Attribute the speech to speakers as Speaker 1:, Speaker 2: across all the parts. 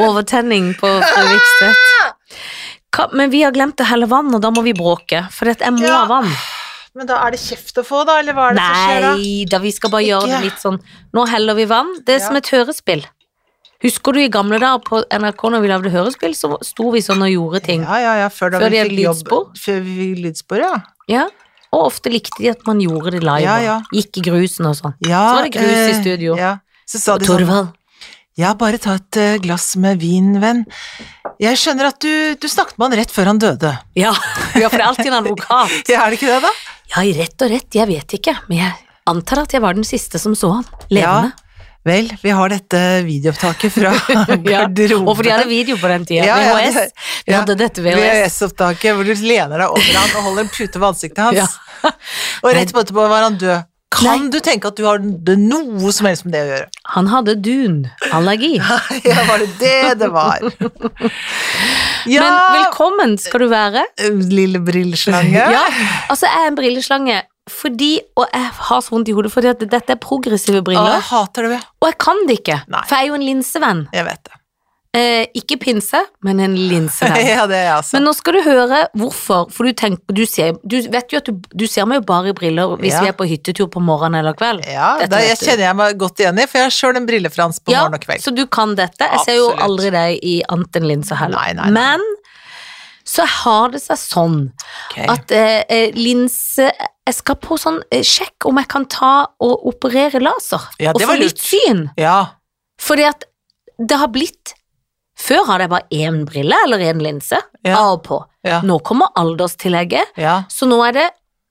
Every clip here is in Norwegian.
Speaker 1: Overtenning på Fredrikstvedt. Hva- Men vi har glemt å helle vann, og da må vi bråke. For at jeg må
Speaker 2: Ja.
Speaker 1: ha vann.
Speaker 2: Men da er det kjeft å få, da, eller hva er det som skjer da?
Speaker 1: Nei da, vi skal bare gjøre det
Speaker 2: Ikke.
Speaker 1: litt sånn Nå heller vi vann. Det er
Speaker 2: Ja.
Speaker 1: som et hørespill. Husker du i gamle dager på NRK når vi lagde hørespill, så sto vi sånn og gjorde ting.
Speaker 2: Ja, ja, ja, før da vi
Speaker 1: Før de hadde
Speaker 2: fikk jobb.
Speaker 1: lydspor?
Speaker 2: Før vi fikk lydspor, ja.
Speaker 1: Ja. Og ofte likte de at man gjorde det live.
Speaker 2: Ja, ja.
Speaker 1: og Gikk i grusen og sånn.
Speaker 2: ja.
Speaker 1: Så var det grus i
Speaker 2: eh,
Speaker 1: studio.
Speaker 2: Ja. Så sa
Speaker 1: Og
Speaker 2: de sånn
Speaker 1: Torvald.
Speaker 2: Ja, bare ta et eh, glass med vin, venn. Jeg skjønner at du, du snakket med han rett før han døde.
Speaker 1: Ja, ja, for det er alltid en advokat.
Speaker 2: Ja, er det ikke det, da?
Speaker 1: Ja, i rett og rett, jeg vet ikke, men jeg antar at jeg var den siste som så han.
Speaker 2: Ja.
Speaker 1: Levende.
Speaker 2: Vel, vi har dette videoopptaket fra garderoben.
Speaker 1: Og fordi jeg hadde video på den tida.
Speaker 2: Ja, ja,
Speaker 1: VHS.
Speaker 2: det-
Speaker 1: Vi
Speaker 2: ja.
Speaker 1: hadde dette VHS.
Speaker 2: VHS-opptaket hvor du lener deg over han og holder en pute ved ansiktet hans.
Speaker 1: Ja.
Speaker 2: Og rett på etterpå var han død. Kan
Speaker 1: Nei.
Speaker 2: du tenke at du har det noe som helst med det å gjøre?
Speaker 1: Han hadde dunallergi.
Speaker 2: Ja, var det det det var? Ja,
Speaker 1: Men velkommen skal du være.
Speaker 2: lille brilleslange.
Speaker 1: Ja, altså jeg er en brilleslange fordi, og jeg har så vondt i hodet fordi at dette er
Speaker 2: Å,
Speaker 1: progressive
Speaker 2: jeg
Speaker 1: briller,
Speaker 2: hater det,
Speaker 1: og jeg kan det ikke,
Speaker 2: Nei.
Speaker 1: for jeg er jo en linsevenn.
Speaker 2: jeg vet det.
Speaker 1: Eh, ikke pinse, men en linsevenn.
Speaker 2: Ja, det er jeg også.
Speaker 1: Men nå skal du høre hvorfor, for du, tenker, du, ser, du vet jo at du, du ser meg jo bare i briller hvis
Speaker 2: Ja.
Speaker 1: vi er på hyttetur på morgenen eller kveld.
Speaker 2: Ja,
Speaker 1: Dette
Speaker 2: da, jeg
Speaker 1: vet du.
Speaker 2: kjenner jeg meg godt igjen i, for jeg har sjøl en brillefrans på
Speaker 1: Ja,
Speaker 2: morgen og kveld.
Speaker 1: så du kan dette. Jeg ser jo
Speaker 2: Absolutt.
Speaker 1: aldri deg i annet enn linser heller.
Speaker 2: Nei, nei, nei.
Speaker 1: Men så har det seg sånn
Speaker 2: Ok.
Speaker 1: at eh, eh, linse Jeg skal på sånn eh, sjekk om jeg kan ta og operere laser.
Speaker 2: Ja,
Speaker 1: og
Speaker 2: det
Speaker 1: få
Speaker 2: var lurt.
Speaker 1: litt syn.
Speaker 2: Ja,
Speaker 1: Fordi at det har blitt Før hadde jeg bare én brille eller én linse.
Speaker 2: Ja.
Speaker 1: Av og på.
Speaker 2: ja,
Speaker 1: Nå kommer alderstillegget,
Speaker 2: ja.
Speaker 1: så nå er det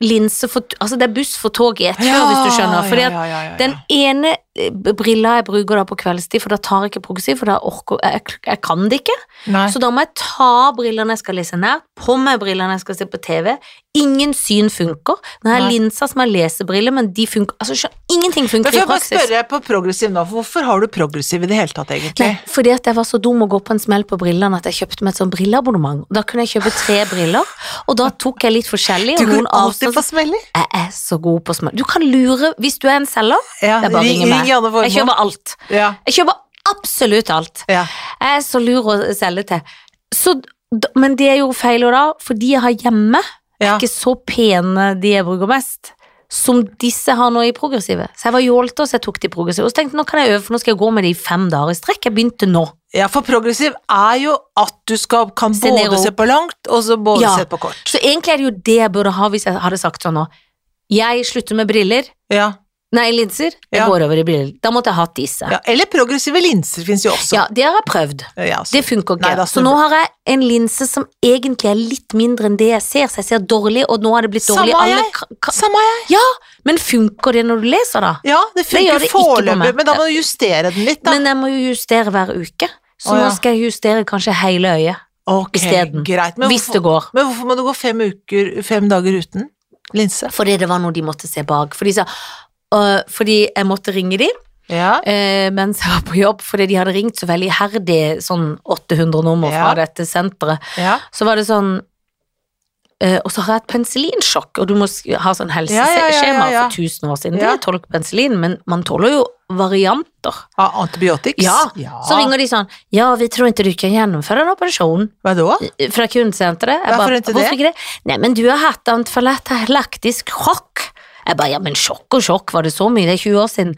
Speaker 1: linse for Altså det er buss for tog i ett kjør, hvis du skjønner. Fordi at
Speaker 2: ja, ja, ja, ja.
Speaker 1: den ene eh, brilla jeg bruker da på kveldstid, for da tar jeg ikke progressiv, for da orker jeg, jeg, jeg kan det ikke.
Speaker 2: Nei.
Speaker 1: Så da må jeg ta brillene jeg skal lese nært, på meg brillene jeg skal se på TV. Ingen syn funker. Den her
Speaker 2: Nei.
Speaker 1: linsa som er lesebriller, men de funker Altså, skjønn- ingenting
Speaker 2: Men
Speaker 1: funker
Speaker 2: får
Speaker 1: i
Speaker 2: jeg bare
Speaker 1: praksis.
Speaker 2: spørre på progressiv nå, for hvorfor har du progressiv i det hele tatt, egentlig?
Speaker 1: Nei, fordi at jeg var så dum å gå på en smell på brillene at jeg kjøpte meg et sånn brilleabonnement. Da kunne jeg kjøpe tre briller, og da tok jeg litt forskjellig.
Speaker 2: Du
Speaker 1: Og
Speaker 2: kan
Speaker 1: noen
Speaker 2: alltid
Speaker 1: avstand...
Speaker 2: få smeller.
Speaker 1: Jeg er så god på smell. Du kan lure hvis du er en selger.
Speaker 2: Ja,
Speaker 1: Det er bare å
Speaker 2: ring,
Speaker 1: ringe meg.
Speaker 2: ring Janne
Speaker 1: Jeg
Speaker 2: Formoe.
Speaker 1: kjøper alt.
Speaker 2: Ja,
Speaker 1: Jeg kjøper absolutt alt.
Speaker 2: ja.
Speaker 1: Jeg er så lur å selge til. Så, d- men det jeg gjorde feil da, for de jeg har hjemme,
Speaker 2: ja.
Speaker 1: er ikke så pene de jeg bruker mest, som disse har nå i progressive. Så jeg var jålete, og så jeg tok de progressive. Og så tenkte jeg, nå kan jeg øve, for nå skal jeg gå med de i fem dager i strekk. Jeg begynte nå.
Speaker 2: ja, for progressiv er jo at du skal, kan
Speaker 1: Se ned
Speaker 2: både
Speaker 1: og-
Speaker 2: se på langt, og så både
Speaker 1: Ja.
Speaker 2: se på kort.
Speaker 1: Så egentlig er det jo det jeg burde ha hvis jeg hadde sagt sånn nå. Jeg slutter med briller,
Speaker 2: Ja.
Speaker 1: nei linser, jeg
Speaker 2: Ja.
Speaker 1: går over i briller. Da måtte jeg hatt disse. Ja,
Speaker 2: ja. Eller progressive linser fins jo også.
Speaker 1: det har jeg prøvd.
Speaker 2: Ja, altså. så-
Speaker 1: Det funker ikke.
Speaker 2: Nei, da
Speaker 1: så nå har jeg en linse som egentlig er litt mindre enn det jeg ser, så jeg ser dårlig, og nå har det blitt
Speaker 2: Samme
Speaker 1: dårlig.
Speaker 2: har
Speaker 1: Alle
Speaker 2: jeg.
Speaker 1: ka- ka-
Speaker 2: Samme har jeg.
Speaker 1: Men funker det når du leser, da?
Speaker 2: Ja, det
Speaker 1: gjør
Speaker 2: funker
Speaker 1: det ikke på
Speaker 2: foreløpig,
Speaker 1: meg.
Speaker 2: men da må du justere den litt, da.
Speaker 1: Men jeg må jo justere hver uke, så
Speaker 2: Å, ja.
Speaker 1: nå skal jeg justere kanskje hele øyet.
Speaker 2: Ok,
Speaker 1: isteden.
Speaker 2: greit. Men
Speaker 1: hvis det
Speaker 2: hvorfor,
Speaker 1: går.
Speaker 2: men hvorfor må du gå fem uker, fem dager uten linse?
Speaker 1: Fordi det var noe de måtte se bak. For de sa øh, Fordi jeg måtte ringe de
Speaker 2: Ja.
Speaker 1: eh, mens jeg var på jobb, fordi de hadde ringt så veldig iherdig, sånn 800 nummer
Speaker 2: Ja.
Speaker 1: fra dette senteret.
Speaker 2: ja.
Speaker 1: Så var det sånn eh, Og så har jeg et penicillinsjokk, og du må sk- ha sånn helseskjema
Speaker 2: Ja, ja, ja, ja, ja.
Speaker 1: for 1000 år siden. Det
Speaker 2: Ja.
Speaker 1: er tolk penicillin, men man tåler jo varianter.
Speaker 2: Av antibiotics?
Speaker 1: Ja, Så ringer de sånn Ja, vi tror ikke du kan gjennomføre en operasjon
Speaker 2: Hva da?
Speaker 1: fra kundesenteret. Jeg
Speaker 2: Hvorfor
Speaker 1: bare,
Speaker 2: ikke det?
Speaker 1: Hvorfor ikke det? Nei, men du har hatt antifalaktisk sjokk. Jeg bare, ja, men sjokk og sjokk, var det så mye? Det er 20 år siden.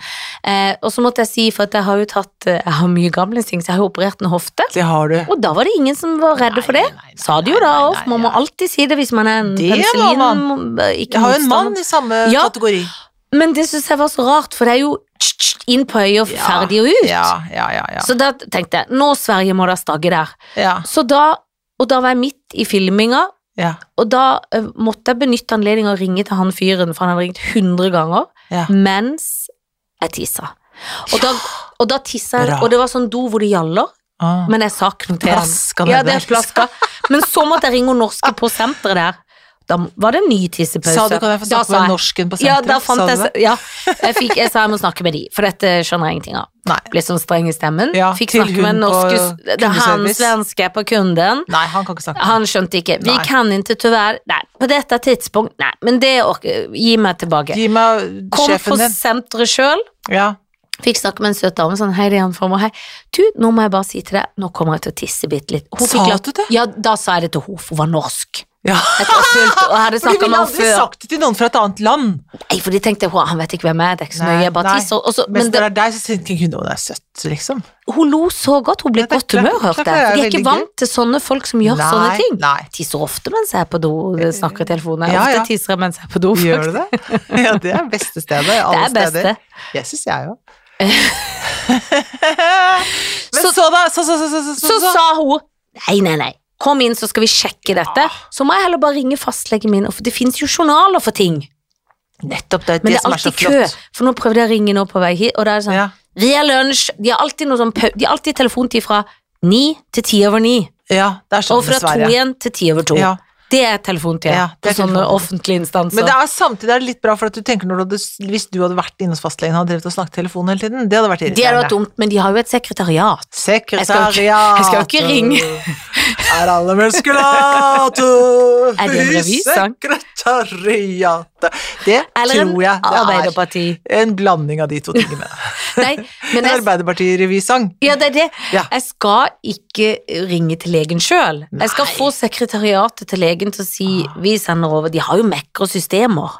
Speaker 1: Eh, og så måtte jeg si, for at jeg har jo tatt eh, Jeg har mye gamlesting, så jeg har jo operert en hofte.
Speaker 2: Det har du.
Speaker 1: Og da var det ingen som var redde for det.
Speaker 2: nei, nei,
Speaker 1: Sa de jo
Speaker 2: nei,
Speaker 1: da
Speaker 2: nei,
Speaker 1: òg,
Speaker 2: nei,
Speaker 1: man må
Speaker 2: ja.
Speaker 1: alltid si det hvis man er en
Speaker 2: Det må
Speaker 1: penicillin
Speaker 2: man.
Speaker 1: eh, ikke
Speaker 2: Jeg har jo en
Speaker 1: motstander.
Speaker 2: mann i samme
Speaker 1: Ja.
Speaker 2: kategori.
Speaker 1: Men det syns jeg var så rart, for det er jo tsk, tsk, inn på øyet og
Speaker 2: Ja,
Speaker 1: ferdig og ut.
Speaker 2: Ja, ja, ja. ja.
Speaker 1: Så da tenkte jeg, nå Sverige må da stagge der.
Speaker 2: ja,
Speaker 1: Så da, og da var jeg midt i filminga,
Speaker 2: ja,
Speaker 1: og da eh, måtte jeg benytte anledningen å ringe til han fyren, for han hadde ringt 100 ganger,
Speaker 2: ja.
Speaker 1: mens jeg tissa. Og da, og da tissa jeg,
Speaker 2: Bra.
Speaker 1: og det var sånn do hvor det gjaller,
Speaker 2: Ah.
Speaker 1: men jeg sa ikke noe til han.
Speaker 2: Plaska
Speaker 1: Ja,
Speaker 2: ned
Speaker 1: det
Speaker 2: der,
Speaker 1: er plaska. Men så måtte jeg ringe hun norske på senteret der. Da var det en ny tissepause.
Speaker 2: Sa du kan jeg få
Speaker 1: Da
Speaker 2: snakke
Speaker 1: sa
Speaker 2: med
Speaker 1: jeg-
Speaker 2: norsken på
Speaker 1: Ja,
Speaker 2: senteret?
Speaker 1: da fant
Speaker 2: Sa du
Speaker 1: jeg,
Speaker 2: det?
Speaker 1: ja, jeg, fikk, jeg sa jeg må snakke med de, for dette skjønner jeg ingenting av.
Speaker 2: Nei.
Speaker 1: Ble sånn streng i stemmen.
Speaker 2: Ja,
Speaker 1: fikk
Speaker 2: til
Speaker 1: snakke med
Speaker 2: hun
Speaker 1: en norsk
Speaker 2: på
Speaker 1: hus- Det er han
Speaker 2: kundeservice.
Speaker 1: svenske på kunden.
Speaker 2: Nei, han kan ikke snakke.
Speaker 1: Han skjønte ikke. Vi
Speaker 2: Nei.
Speaker 1: kan ikke tyvärr Nei, på dette tidspunkt Nei, men det orker eh, Gi meg tilbake.
Speaker 2: Gi meg
Speaker 1: Kom på
Speaker 2: sjefen din.
Speaker 1: senteret sjøl,
Speaker 2: Ja.
Speaker 1: Fikk snakke med en søt dame sånn, hei, det er Jan Formoe, hei. Du, nå må jeg bare si til deg, nå kommer jeg til å tisse bitte litt. Hun
Speaker 2: Sa
Speaker 1: fikk lov-
Speaker 2: du det?
Speaker 1: Ja, da sa jeg det til henne, for hun var norsk.
Speaker 2: Ja.
Speaker 1: Jeg følte, og jeg hadde
Speaker 2: For du
Speaker 1: snakket med
Speaker 2: ville
Speaker 1: henne
Speaker 2: aldri
Speaker 1: før.
Speaker 2: sagt det til noen fra et annet land.
Speaker 1: Nei, for de tenkte, «Hå, han vet ikke hvem jeg er, det er ikke så
Speaker 2: Nei,
Speaker 1: nøye, jeg bare
Speaker 2: nei.
Speaker 1: tisser. Og så,
Speaker 2: Mens
Speaker 1: men det,
Speaker 2: det er deg, så tenker hun hun er søtt, liksom.
Speaker 1: hun lo så godt, hun ble
Speaker 2: Ja,
Speaker 1: i
Speaker 2: det er
Speaker 1: godt
Speaker 2: klart-
Speaker 1: humør,
Speaker 2: klart
Speaker 1: hørte
Speaker 2: det er
Speaker 1: jeg. For de
Speaker 2: veldig
Speaker 1: er ikke vant til sånne folk som gjør
Speaker 2: nei,
Speaker 1: sånne ting.
Speaker 2: Nei.
Speaker 1: Tisser ofte mens jeg er på do, det snakker i telefonen.
Speaker 2: Ja, ja.
Speaker 1: Ofte tisser jeg mens jeg er på do,
Speaker 2: Gjør
Speaker 1: faktisk.
Speaker 2: du det? Ja, det er beste stedet.
Speaker 1: Det
Speaker 2: Alle
Speaker 1: er beste.
Speaker 2: steder. Jeg syns jeg òg. Men så, da, så, så, så, så, så, Ah.
Speaker 1: Så sa hun Nei, nei, nei, kom inn så skal vi sjekke dette Så må jeg heller bare ringe fastlegen min og For det finnes jo journaler for ting
Speaker 2: Nettopp, det er det,
Speaker 1: Men det er
Speaker 2: som er så
Speaker 1: alltid kø
Speaker 2: flott.
Speaker 1: For nå prøvde jeg å ringe nå på vei hit Og det er sånn,
Speaker 2: Ja.
Speaker 1: vi er lunsj De har alltid, noe sånn, pau- de har alltid telefontid fra 9 til 10 over 9
Speaker 2: ja, det er sånn
Speaker 1: Og fra 2
Speaker 2: dessverre.
Speaker 1: igjen til 10 over 2
Speaker 2: Ja.
Speaker 1: Det er telefontid
Speaker 2: Ja, det er
Speaker 1: På sånne
Speaker 2: telefontid.
Speaker 1: offentlige instanser
Speaker 2: Men det er samtidig er det litt bra, for at du tenker når du, hadde- hvis du hadde vært inne hos fastlegen og hadde drevet og snakket i telefonen hele tiden, det hadde vært
Speaker 1: Det er jo
Speaker 2: irriterende.
Speaker 1: dumt, men de har jo et sekretariat
Speaker 2: Sekretariat
Speaker 1: Jeg skal jo ikke ringe.
Speaker 2: Er alle muskulater
Speaker 1: Er det en revysang?
Speaker 2: Sekretariatet Det
Speaker 1: Eller en
Speaker 2: tror jeg det er.
Speaker 1: Arbeiderparti
Speaker 2: En blanding av de to tingene.
Speaker 1: Nei, men
Speaker 2: En
Speaker 1: jeg
Speaker 2: Arbeiderparti-revysang.
Speaker 1: Ja, det er det.
Speaker 2: Ja.
Speaker 1: Jeg skal ikke ringe til legen sjøl. Jeg skal
Speaker 2: Nei. Ah.
Speaker 1: få sekretariatet til legen til å si vi sender over. De har jo Mac og systemer.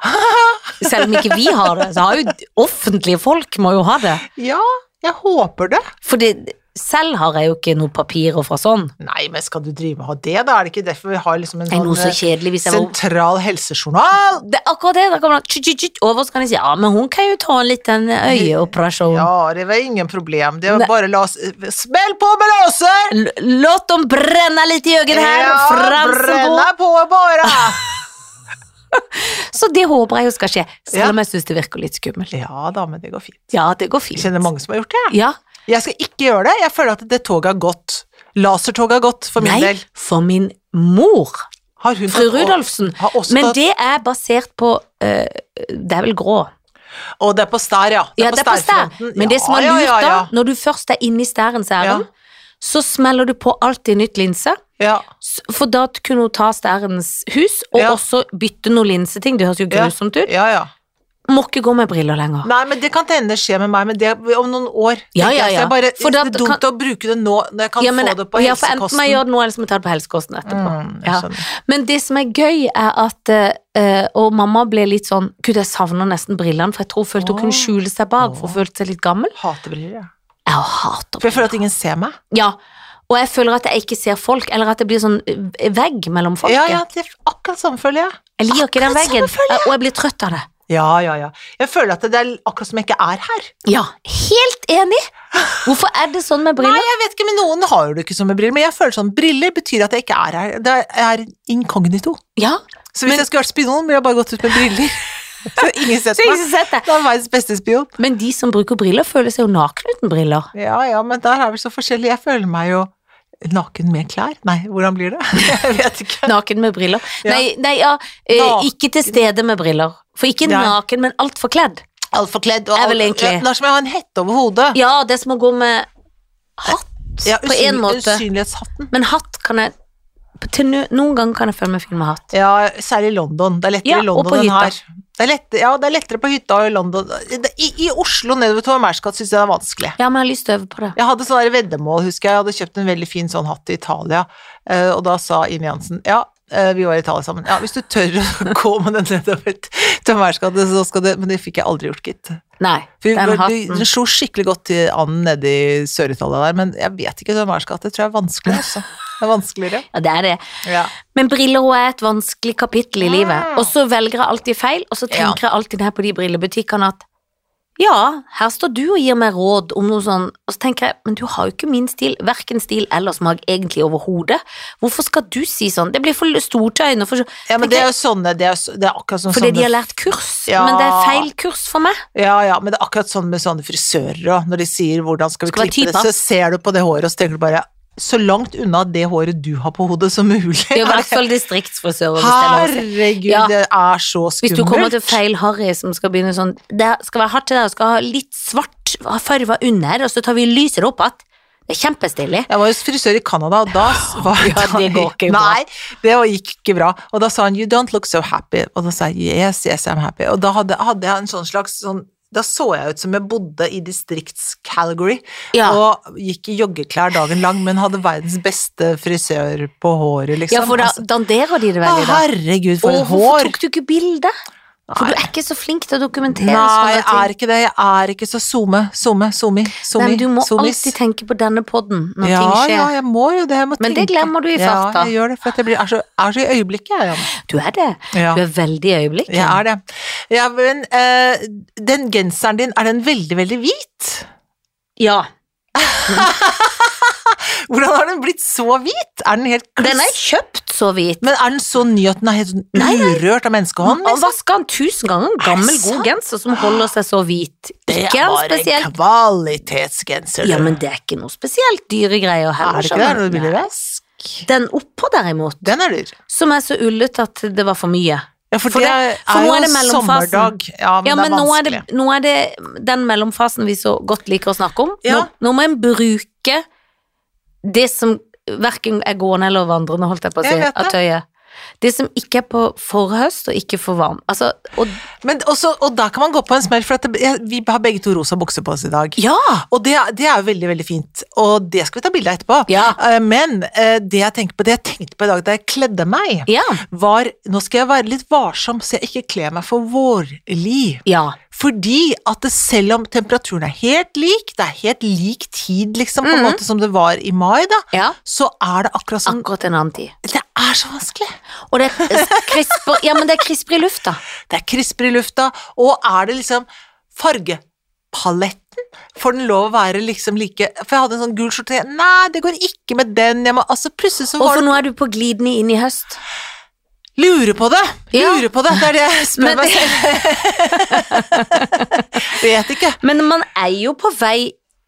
Speaker 1: Selv om ikke vi har det, så har jo offentlige folk må jo ha det.
Speaker 2: Ja, jeg håper det.
Speaker 1: For det, selv har jeg jo ikke noe papirer fra sånn.
Speaker 2: Nei, men skal du drive og ha det, da? Er det ikke derfor vi har liksom en
Speaker 1: Det er noe så
Speaker 2: sånn
Speaker 1: kjedelig hvis jeg var
Speaker 2: sentral helsejournal?
Speaker 1: det, er Akkurat det. Da kommer han tjut, tjut, tjut, over, så kan jeg si ja, men hun kan jo ta en liten eh, øyeoperasjon.
Speaker 2: Ja, det var ingen problem. Det
Speaker 1: Nei.
Speaker 2: var bare la oss eh, Smell på med låser!
Speaker 1: L- Låt dem brenne litt i øynene her, fram som bor.
Speaker 2: brenna på bare!
Speaker 1: Så det håper jeg jo skal skje,
Speaker 2: Ja.
Speaker 1: selv om jeg syns det virker litt skummelt.
Speaker 2: Ja da, men det går fint.
Speaker 1: Ja, det går
Speaker 2: Jeg
Speaker 1: fint.
Speaker 2: kjenner mange som har gjort det. jeg.
Speaker 1: Ja,
Speaker 2: Jeg skal ikke gjøre det. Jeg føler at det toget har gått. Lasertoget har gått, for min
Speaker 1: Nei,
Speaker 2: del.
Speaker 1: for min mor,
Speaker 2: Har hun
Speaker 1: fru
Speaker 2: tatt-
Speaker 1: Rudolfsen.
Speaker 2: Har også
Speaker 1: Men
Speaker 2: tatt,
Speaker 1: det er basert på eh, Det er vel grå?
Speaker 2: og det er på stær, ja.
Speaker 1: Ja, det er på stær.
Speaker 2: stærfronten.
Speaker 1: Men det som er
Speaker 2: Ja,
Speaker 1: lurt,
Speaker 2: ja, ja,
Speaker 1: da, når du først er inne i stærens ærend, så smeller du på alltid nytt linse.
Speaker 2: ja.
Speaker 1: S- For da kunne hun ta stærens hus, og
Speaker 2: Ja.
Speaker 1: også bytte noe linseting. Det høres jo
Speaker 2: Ja.
Speaker 1: grusomt
Speaker 2: ja,
Speaker 1: ut.
Speaker 2: ja, ja.
Speaker 1: Må ikke gå med briller lenger.
Speaker 2: Nei, men det kan hende skje med meg, men det om noen år.
Speaker 1: Ja,
Speaker 2: tenker
Speaker 1: ja,
Speaker 2: jeg.
Speaker 1: ja.
Speaker 2: Så jeg bare,
Speaker 1: For da
Speaker 2: det er dumt å bruke det nå, når jeg kan
Speaker 1: Ja, men,
Speaker 2: få det på
Speaker 1: ja, for enten må
Speaker 2: helsekosten.
Speaker 1: jeg gjøre det nå, eller så må jeg ta det på helsekosten etterpå.
Speaker 2: Mm, jeg
Speaker 1: Ja.
Speaker 2: skjønner.
Speaker 1: Men det som er gøy, er at eh, Og mamma ble litt sånn Gud, jeg savner nesten brillene, for jeg tror hun følte hun
Speaker 2: Åh.
Speaker 1: kunne skjule seg bak, for hun følte seg litt gammel.
Speaker 2: Hater briller, jeg.
Speaker 1: Jeg
Speaker 2: For jeg
Speaker 1: hater briller.
Speaker 2: føler at ingen ser meg.
Speaker 1: Ja. Og jeg føler at jeg ikke ser folk, eller at det blir sånn eh, vegg mellom folket.
Speaker 2: Ja, ja, det er akkurat samme føler jeg.
Speaker 1: Jeg liker ikke den
Speaker 2: akkurat
Speaker 1: veggen, eh, og jeg blir trøtt av det.
Speaker 2: Ja, ja, ja. Jeg føler at det er akkurat som jeg ikke er her.
Speaker 1: Ja, helt enig! Hvorfor er det sånn med briller?
Speaker 2: Jeg vet ikke, men noen har jo det ikke som med briller, men jeg føler sånn, briller betyr at jeg ikke er her. Det er inkognito.
Speaker 1: Ja,
Speaker 2: Så hvis
Speaker 1: Men-
Speaker 2: jeg skulle vært spion, ville jeg bare gått ut med briller. Så ingen sett
Speaker 1: så
Speaker 2: meg.
Speaker 1: ikke sett det.
Speaker 2: Det er verdens beste spion.
Speaker 1: Men de som bruker briller, føler seg jo nakne uten briller.
Speaker 2: Ja, ja, men der er vi så forskjellige. Jeg føler meg jo naken med klær. Nei, hvordan blir det? Jeg vet ikke.
Speaker 1: Naken med briller.
Speaker 2: Ja.
Speaker 1: Nei, nei ja, eh,
Speaker 2: Naken.
Speaker 1: ikke til stede med briller. For ikke
Speaker 2: Nei.
Speaker 1: naken, men altfor kledd.
Speaker 2: Altfor kledd. Og
Speaker 1: Jeg vil
Speaker 2: alt-
Speaker 1: egentlig-
Speaker 2: Ja, Det er som jeg har en hette over hodet.
Speaker 1: Ja, det er som å gå med hatt,
Speaker 2: Ja,
Speaker 1: på en
Speaker 2: usynlig-
Speaker 1: måte.
Speaker 2: Usynlighetshatten.
Speaker 1: Men hatt kan jeg til no, Noen ganger kan jeg føle meg fin med hatt.
Speaker 2: Ja, særlig i London. Det er lettere
Speaker 1: Ja,
Speaker 2: i
Speaker 1: og på
Speaker 2: London enn
Speaker 1: hytta.
Speaker 2: her. Det er lett, ja, det er lettere på hytta og i London. I, i Oslo nedover til Merskatt syns jeg det er vanskelig.
Speaker 1: Ja, men jeg har lyst til å øve på det.
Speaker 2: Jeg hadde sånn der veddemål, husker jeg. Jeg hadde kjøpt en veldig fin sånn hatt i Italia, eh, og da sa Ine Jansen ja, eh, vi var i Italia sammen. Ja, hvis du tør å gå med den nedover til Merskatt, så skal det Men det fikk jeg aldri gjort, gitt.
Speaker 1: Nei,
Speaker 2: For
Speaker 1: den
Speaker 2: det,
Speaker 1: hatten.
Speaker 2: det slo skikkelig godt til an nede i Sør-Italia der, men jeg vet ikke hvem er skatt. Det tror jeg er vanskelig, altså. Det er vanskeligere.
Speaker 1: Ja, det er det.
Speaker 2: Ja.
Speaker 1: Men briller også er et vanskelig kapittel i
Speaker 2: Mm.
Speaker 1: livet. Og så velger jeg alltid feil, og så
Speaker 2: Ja.
Speaker 1: tenker jeg alltid her på de brillebutikkene at ja, her står du og gir meg råd om noe sånn, og så tenker jeg, men du har jo ikke min stil, hverken stil eller smak egentlig overhodet. Hvorfor skal du si sånn? Det blir for stort til øynene. For,
Speaker 2: ja, men det er jo sånne Det er, jo så- det er akkurat sånn
Speaker 1: fordi de har
Speaker 2: sånne,
Speaker 1: lært kurs,
Speaker 2: Ja.
Speaker 1: men det er feil kurs for meg.
Speaker 2: ja, ja, men det er akkurat sånn med sånne frisører òg. Når de sier 'hvordan skal vi
Speaker 1: Skal være
Speaker 2: klippe det',
Speaker 1: typa.
Speaker 2: så ser du på det håret, og så tenker du bare så langt unna det håret du har på hodet som mulig.
Speaker 1: Det er jo i hvert fall distriktsfrisører. hvis det er lov å si.
Speaker 2: Herregud,
Speaker 1: Ja.
Speaker 2: det er så
Speaker 1: Hvis du kommer til
Speaker 2: skummelt.
Speaker 1: feil Harry som skal begynne sånn Det skal være hardt til deg, og skal ha litt svart farve under, og så tar vi lyset opp igjen. Det er kjempestilig.
Speaker 2: Jeg var hos frisør i Canada, og da s- var
Speaker 1: Ja, det går ikke bra.
Speaker 2: Nei, det var- gikk ikke bra. Og da sa han 'you don't look so happy', og da sa jeg 'yes, yes, I'm happy'. Og da hadde, hadde jeg en sånn slags sånn da så jeg ut som jeg bodde i distrikts-Calgary
Speaker 1: Ja.
Speaker 2: og gikk i joggeklær dagen lang, men hadde verdens beste frisør på håret, liksom.
Speaker 1: Ja, for da
Speaker 2: Altså,
Speaker 1: danderer de det
Speaker 2: å,
Speaker 1: veldig, da.
Speaker 2: herregud, for
Speaker 1: Og
Speaker 2: et
Speaker 1: hvorfor
Speaker 2: hår!
Speaker 1: tok du ikke bilde? For
Speaker 2: Nei.
Speaker 1: du er ikke så flink til å dokumentere
Speaker 2: Nei, jeg
Speaker 1: sånne
Speaker 2: er
Speaker 1: ting.
Speaker 2: ikke det. Jeg er ikke så zoome, zoome, zoomi, zoomi.
Speaker 1: Nei, men du må
Speaker 2: zoomis.
Speaker 1: alltid tenke på denne podden når
Speaker 2: ja,
Speaker 1: ting skjer.
Speaker 2: Ja, jeg må jo det. Jeg må
Speaker 1: Men det
Speaker 2: tenke.
Speaker 1: glemmer du i farta.
Speaker 2: Ja, jeg gjør det, for at jeg blir, er, så, er så i øyeblikket, jeg, Janne.
Speaker 1: Du er det.
Speaker 2: Ja.
Speaker 1: Du er veldig i øyeblikket.
Speaker 2: Jeg er det. Ja, men eh, den genseren din, er den veldig, veldig hvit?
Speaker 1: Ja.
Speaker 2: Hvordan har den blitt så hvit? Er den helt kliss?
Speaker 1: Den er kjøpt så vidt.
Speaker 2: Men er den så ny at den er helt sånn urørt av menneskehånd?
Speaker 1: Han
Speaker 2: Liksom?
Speaker 1: vasker den tusen ganger. En
Speaker 2: Er
Speaker 1: Gammel,
Speaker 2: det
Speaker 1: god
Speaker 2: sant?
Speaker 1: genser som holder seg så hvit.
Speaker 2: Det
Speaker 1: Ikke
Speaker 2: er
Speaker 1: en
Speaker 2: bare
Speaker 1: spesiell
Speaker 2: en kvalitetsgenser. du.
Speaker 1: Ja, men det er ikke noe spesielt dyre greier
Speaker 2: er
Speaker 1: heller.
Speaker 2: det ikke det? Er det
Speaker 1: skjønner du.
Speaker 2: billig vask?
Speaker 1: Den oppå, derimot,
Speaker 2: Den er dyr.
Speaker 1: som er så ullet at det var for mye.
Speaker 2: Ja, for,
Speaker 1: For
Speaker 2: det,
Speaker 1: det- for
Speaker 2: er
Speaker 1: nå
Speaker 2: jo
Speaker 1: er det
Speaker 2: en
Speaker 1: mellomfasen.
Speaker 2: sommerdag. Ja, men,
Speaker 1: Ja, men
Speaker 2: det er
Speaker 1: nå er,
Speaker 2: vanskelig.
Speaker 1: det, nå er det den mellomfasen vi så godt liker å snakke om.
Speaker 2: Ja.
Speaker 1: Nå, nå må en bruke det som verken er gående eller vandrende, holdt jeg på å si,
Speaker 2: Jeg vet
Speaker 1: av
Speaker 2: det.
Speaker 1: tøyet. Det som ikke er på forhøst og ikke for varm. Altså, og
Speaker 2: Men også, og da kan man gå på en smell, for at det, jeg- vi har begge to rosa bukser på oss i dag.
Speaker 1: ja!
Speaker 2: Og det, er- det er jo veldig, veldig fint, og det skal vi ta bilde av etterpå.
Speaker 1: Ja.
Speaker 2: Eh, Men eh, det jeg tenkte på, det jeg tenkte på i dag da jeg kledde meg,
Speaker 1: Ja.
Speaker 2: var Nå skal jeg være litt varsom, så jeg ikke kler meg for vårlig.
Speaker 1: ja.
Speaker 2: Fordi at det, selv om temperaturen er helt lik, det er helt lik tid, liksom, på en
Speaker 1: Mhm.
Speaker 2: måte som det var i mai, da,
Speaker 1: ja.
Speaker 2: så er det akkurat som
Speaker 1: Akkurat en annen tid.
Speaker 2: Det er så vanskelig.
Speaker 1: Og det er krisper, ja, men det er krisper i lufta.
Speaker 2: Det er krisper i lufta, og er det liksom fargepaletten? Får den lov å være liksom like For jeg hadde en sånn gul skjorte Nei, det går ikke med den. Jeg må altså plutselig så
Speaker 1: Og
Speaker 2: var
Speaker 1: for
Speaker 2: det
Speaker 1: nå er du på glidende inn i høst.
Speaker 2: Lure på det!
Speaker 1: Ja.
Speaker 2: Lure på det! Det er det jeg spør
Speaker 1: Men-
Speaker 2: meg selv. Vet ikke.
Speaker 1: Men man er jo på vei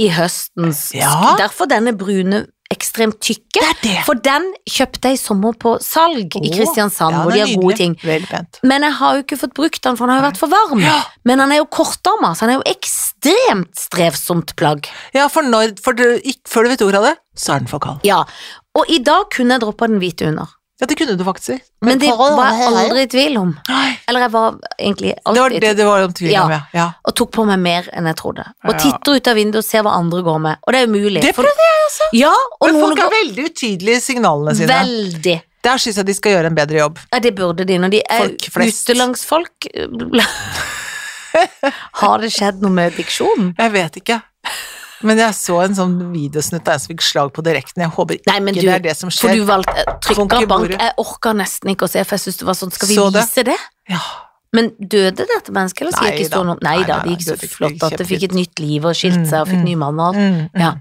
Speaker 1: i høstens
Speaker 2: Ja.
Speaker 1: Derfor denne brune ekstremt tykke.
Speaker 2: Det er det.
Speaker 1: For den kjøpte jeg i sommer på salg i
Speaker 2: Åh,
Speaker 1: Kristiansand,
Speaker 2: ja,
Speaker 1: hvor
Speaker 2: det
Speaker 1: de
Speaker 2: er
Speaker 1: har gode
Speaker 2: nydelig.
Speaker 1: ting.
Speaker 2: Veldig pent.
Speaker 1: Men jeg har jo ikke fått brukt den, for den har jo vært for varm.
Speaker 2: Ja.
Speaker 1: Men han er jo kortarma, så han er jo ekstremt strevsomt plagg.
Speaker 2: Ja, for når for du, ikke, Før du vet ordet av det, så er den for kald.
Speaker 1: Ja. Og i dag kunne jeg droppa den hvite under.
Speaker 2: Ja, det kunne du faktisk si.
Speaker 1: Men det
Speaker 2: for-
Speaker 1: var jeg aldri i tvil om.
Speaker 2: Nei.
Speaker 1: Eller jeg var egentlig
Speaker 2: Det var
Speaker 1: alltid i
Speaker 2: det det var om tvil
Speaker 1: Ja.
Speaker 2: om, ja. ja.
Speaker 1: og tok på meg mer enn jeg trodde. Og
Speaker 2: Ja.
Speaker 1: titter ut av vinduet og ser hva andre går med. Og det er umulig.
Speaker 2: Det
Speaker 1: for-
Speaker 2: prøvde jeg også.
Speaker 1: Ja, og
Speaker 2: Men
Speaker 1: noen
Speaker 2: folk er
Speaker 1: går
Speaker 2: veldig utydelige i signalene sine.
Speaker 1: veldig.
Speaker 2: Der syns jeg de skal gjøre en bedre jobb.
Speaker 1: Ja, det burde de. Når de er
Speaker 2: Folk flest.
Speaker 1: utelandsfolk eh, Har det skjedd noe med diksjonen?
Speaker 2: Jeg vet ikke. Men jeg så en sånn videosnutt av en som fikk slag på direkten. Jeg håper ikke
Speaker 1: Nei, men du,
Speaker 2: det er det som
Speaker 1: for
Speaker 2: skjer.
Speaker 1: du valgte
Speaker 2: Funk i
Speaker 1: trykka bank.
Speaker 2: bordet.
Speaker 1: Jeg orka nesten ikke å se, for jeg syntes det var sånn Skal vi
Speaker 2: Så det?
Speaker 1: vise det?
Speaker 2: Ja.
Speaker 1: Men døde dette mennesket, eller skal
Speaker 2: Nei
Speaker 1: jeg ikke
Speaker 2: da.
Speaker 1: stå noe Nei
Speaker 2: Nei,
Speaker 1: da,
Speaker 2: nei,
Speaker 1: det
Speaker 2: nei,
Speaker 1: gikk
Speaker 2: det
Speaker 1: så
Speaker 2: gikk-
Speaker 1: flott
Speaker 2: det gikk
Speaker 1: at det fikk
Speaker 2: kjempefint.
Speaker 1: et nytt liv og skilte seg og fikk
Speaker 2: Mm,
Speaker 1: ny mann og alt.
Speaker 2: Mm, mm.
Speaker 1: Ja.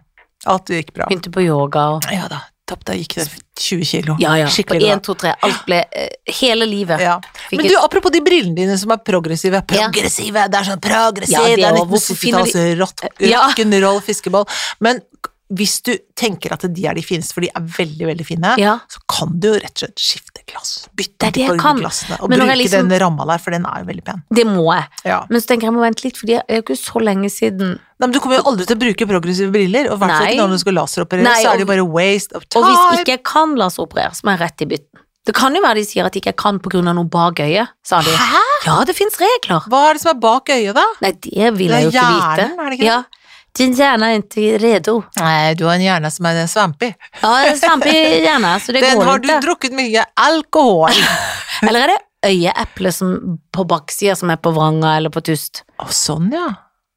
Speaker 2: Alt gikk bra.
Speaker 1: Begynte på yoga og
Speaker 2: Ja da. Topp, da gikk det 20 kilo.
Speaker 1: Ja, ja. På
Speaker 2: Skikkelig bra.
Speaker 1: én, to, tre. Alt ble eh, Hele livet.
Speaker 2: Ja.
Speaker 1: Fikk
Speaker 2: Men
Speaker 1: et-
Speaker 2: du, apropos de brillene dine som er progressive.
Speaker 1: Ja.
Speaker 2: Progressive! Det er sånn progressiv!
Speaker 1: Ja, det
Speaker 2: det,
Speaker 1: er
Speaker 2: er
Speaker 1: jo- hvorfor finner de-
Speaker 2: 1970-talls sånn rock-
Speaker 1: Ja.
Speaker 2: rock'n'roll fiskeball. Men k- hvis du tenker at de er de fineste, for de er veldig, veldig fine,
Speaker 1: Ja.
Speaker 2: så kan du jo rett og slett skifte glass. Bytte
Speaker 1: Det er det jeg
Speaker 2: på
Speaker 1: kan.
Speaker 2: glassene, og
Speaker 1: Men når
Speaker 2: bruke
Speaker 1: jeg liksom-
Speaker 2: den ramma der, for den er jo veldig pen.
Speaker 1: Det må jeg.
Speaker 2: Ja.
Speaker 1: Men så tenker jeg jeg må vente litt, for det er jo ikke så lenge siden.
Speaker 2: Nei, men du kommer jo aldri til å bruke progressive briller, og i hvert fall
Speaker 1: Nei.
Speaker 2: ikke når du skal laseroperere,
Speaker 1: Nei,
Speaker 2: så
Speaker 1: og-
Speaker 2: er det jo bare waste of
Speaker 1: Og
Speaker 2: time.
Speaker 1: hvis ikke jeg kan laseroperere, så må jeg rett i bytten. Det kan jo være de sier at ikke jeg kan på grunn av noe bak øyet, sa de.
Speaker 2: Hæ?
Speaker 1: Ja, det fins regler.
Speaker 2: Hva er det som er bak øyet, da?
Speaker 1: Nei, det vil jeg jo
Speaker 2: Det er
Speaker 1: ikke vite.
Speaker 2: hjernen, er det ikke det?
Speaker 1: Ja. Din hjerne er ikke redo.
Speaker 2: Nei, du har en hjerne som er svampy.
Speaker 1: Ja, det er svampe i hjerne, så det
Speaker 2: Den
Speaker 1: går
Speaker 2: har du
Speaker 1: ikke.
Speaker 2: drukket mye alkohol.
Speaker 1: Eller er det øyeeplet som på baksida som er på vranga eller på tust?
Speaker 2: Å, sånn, ja.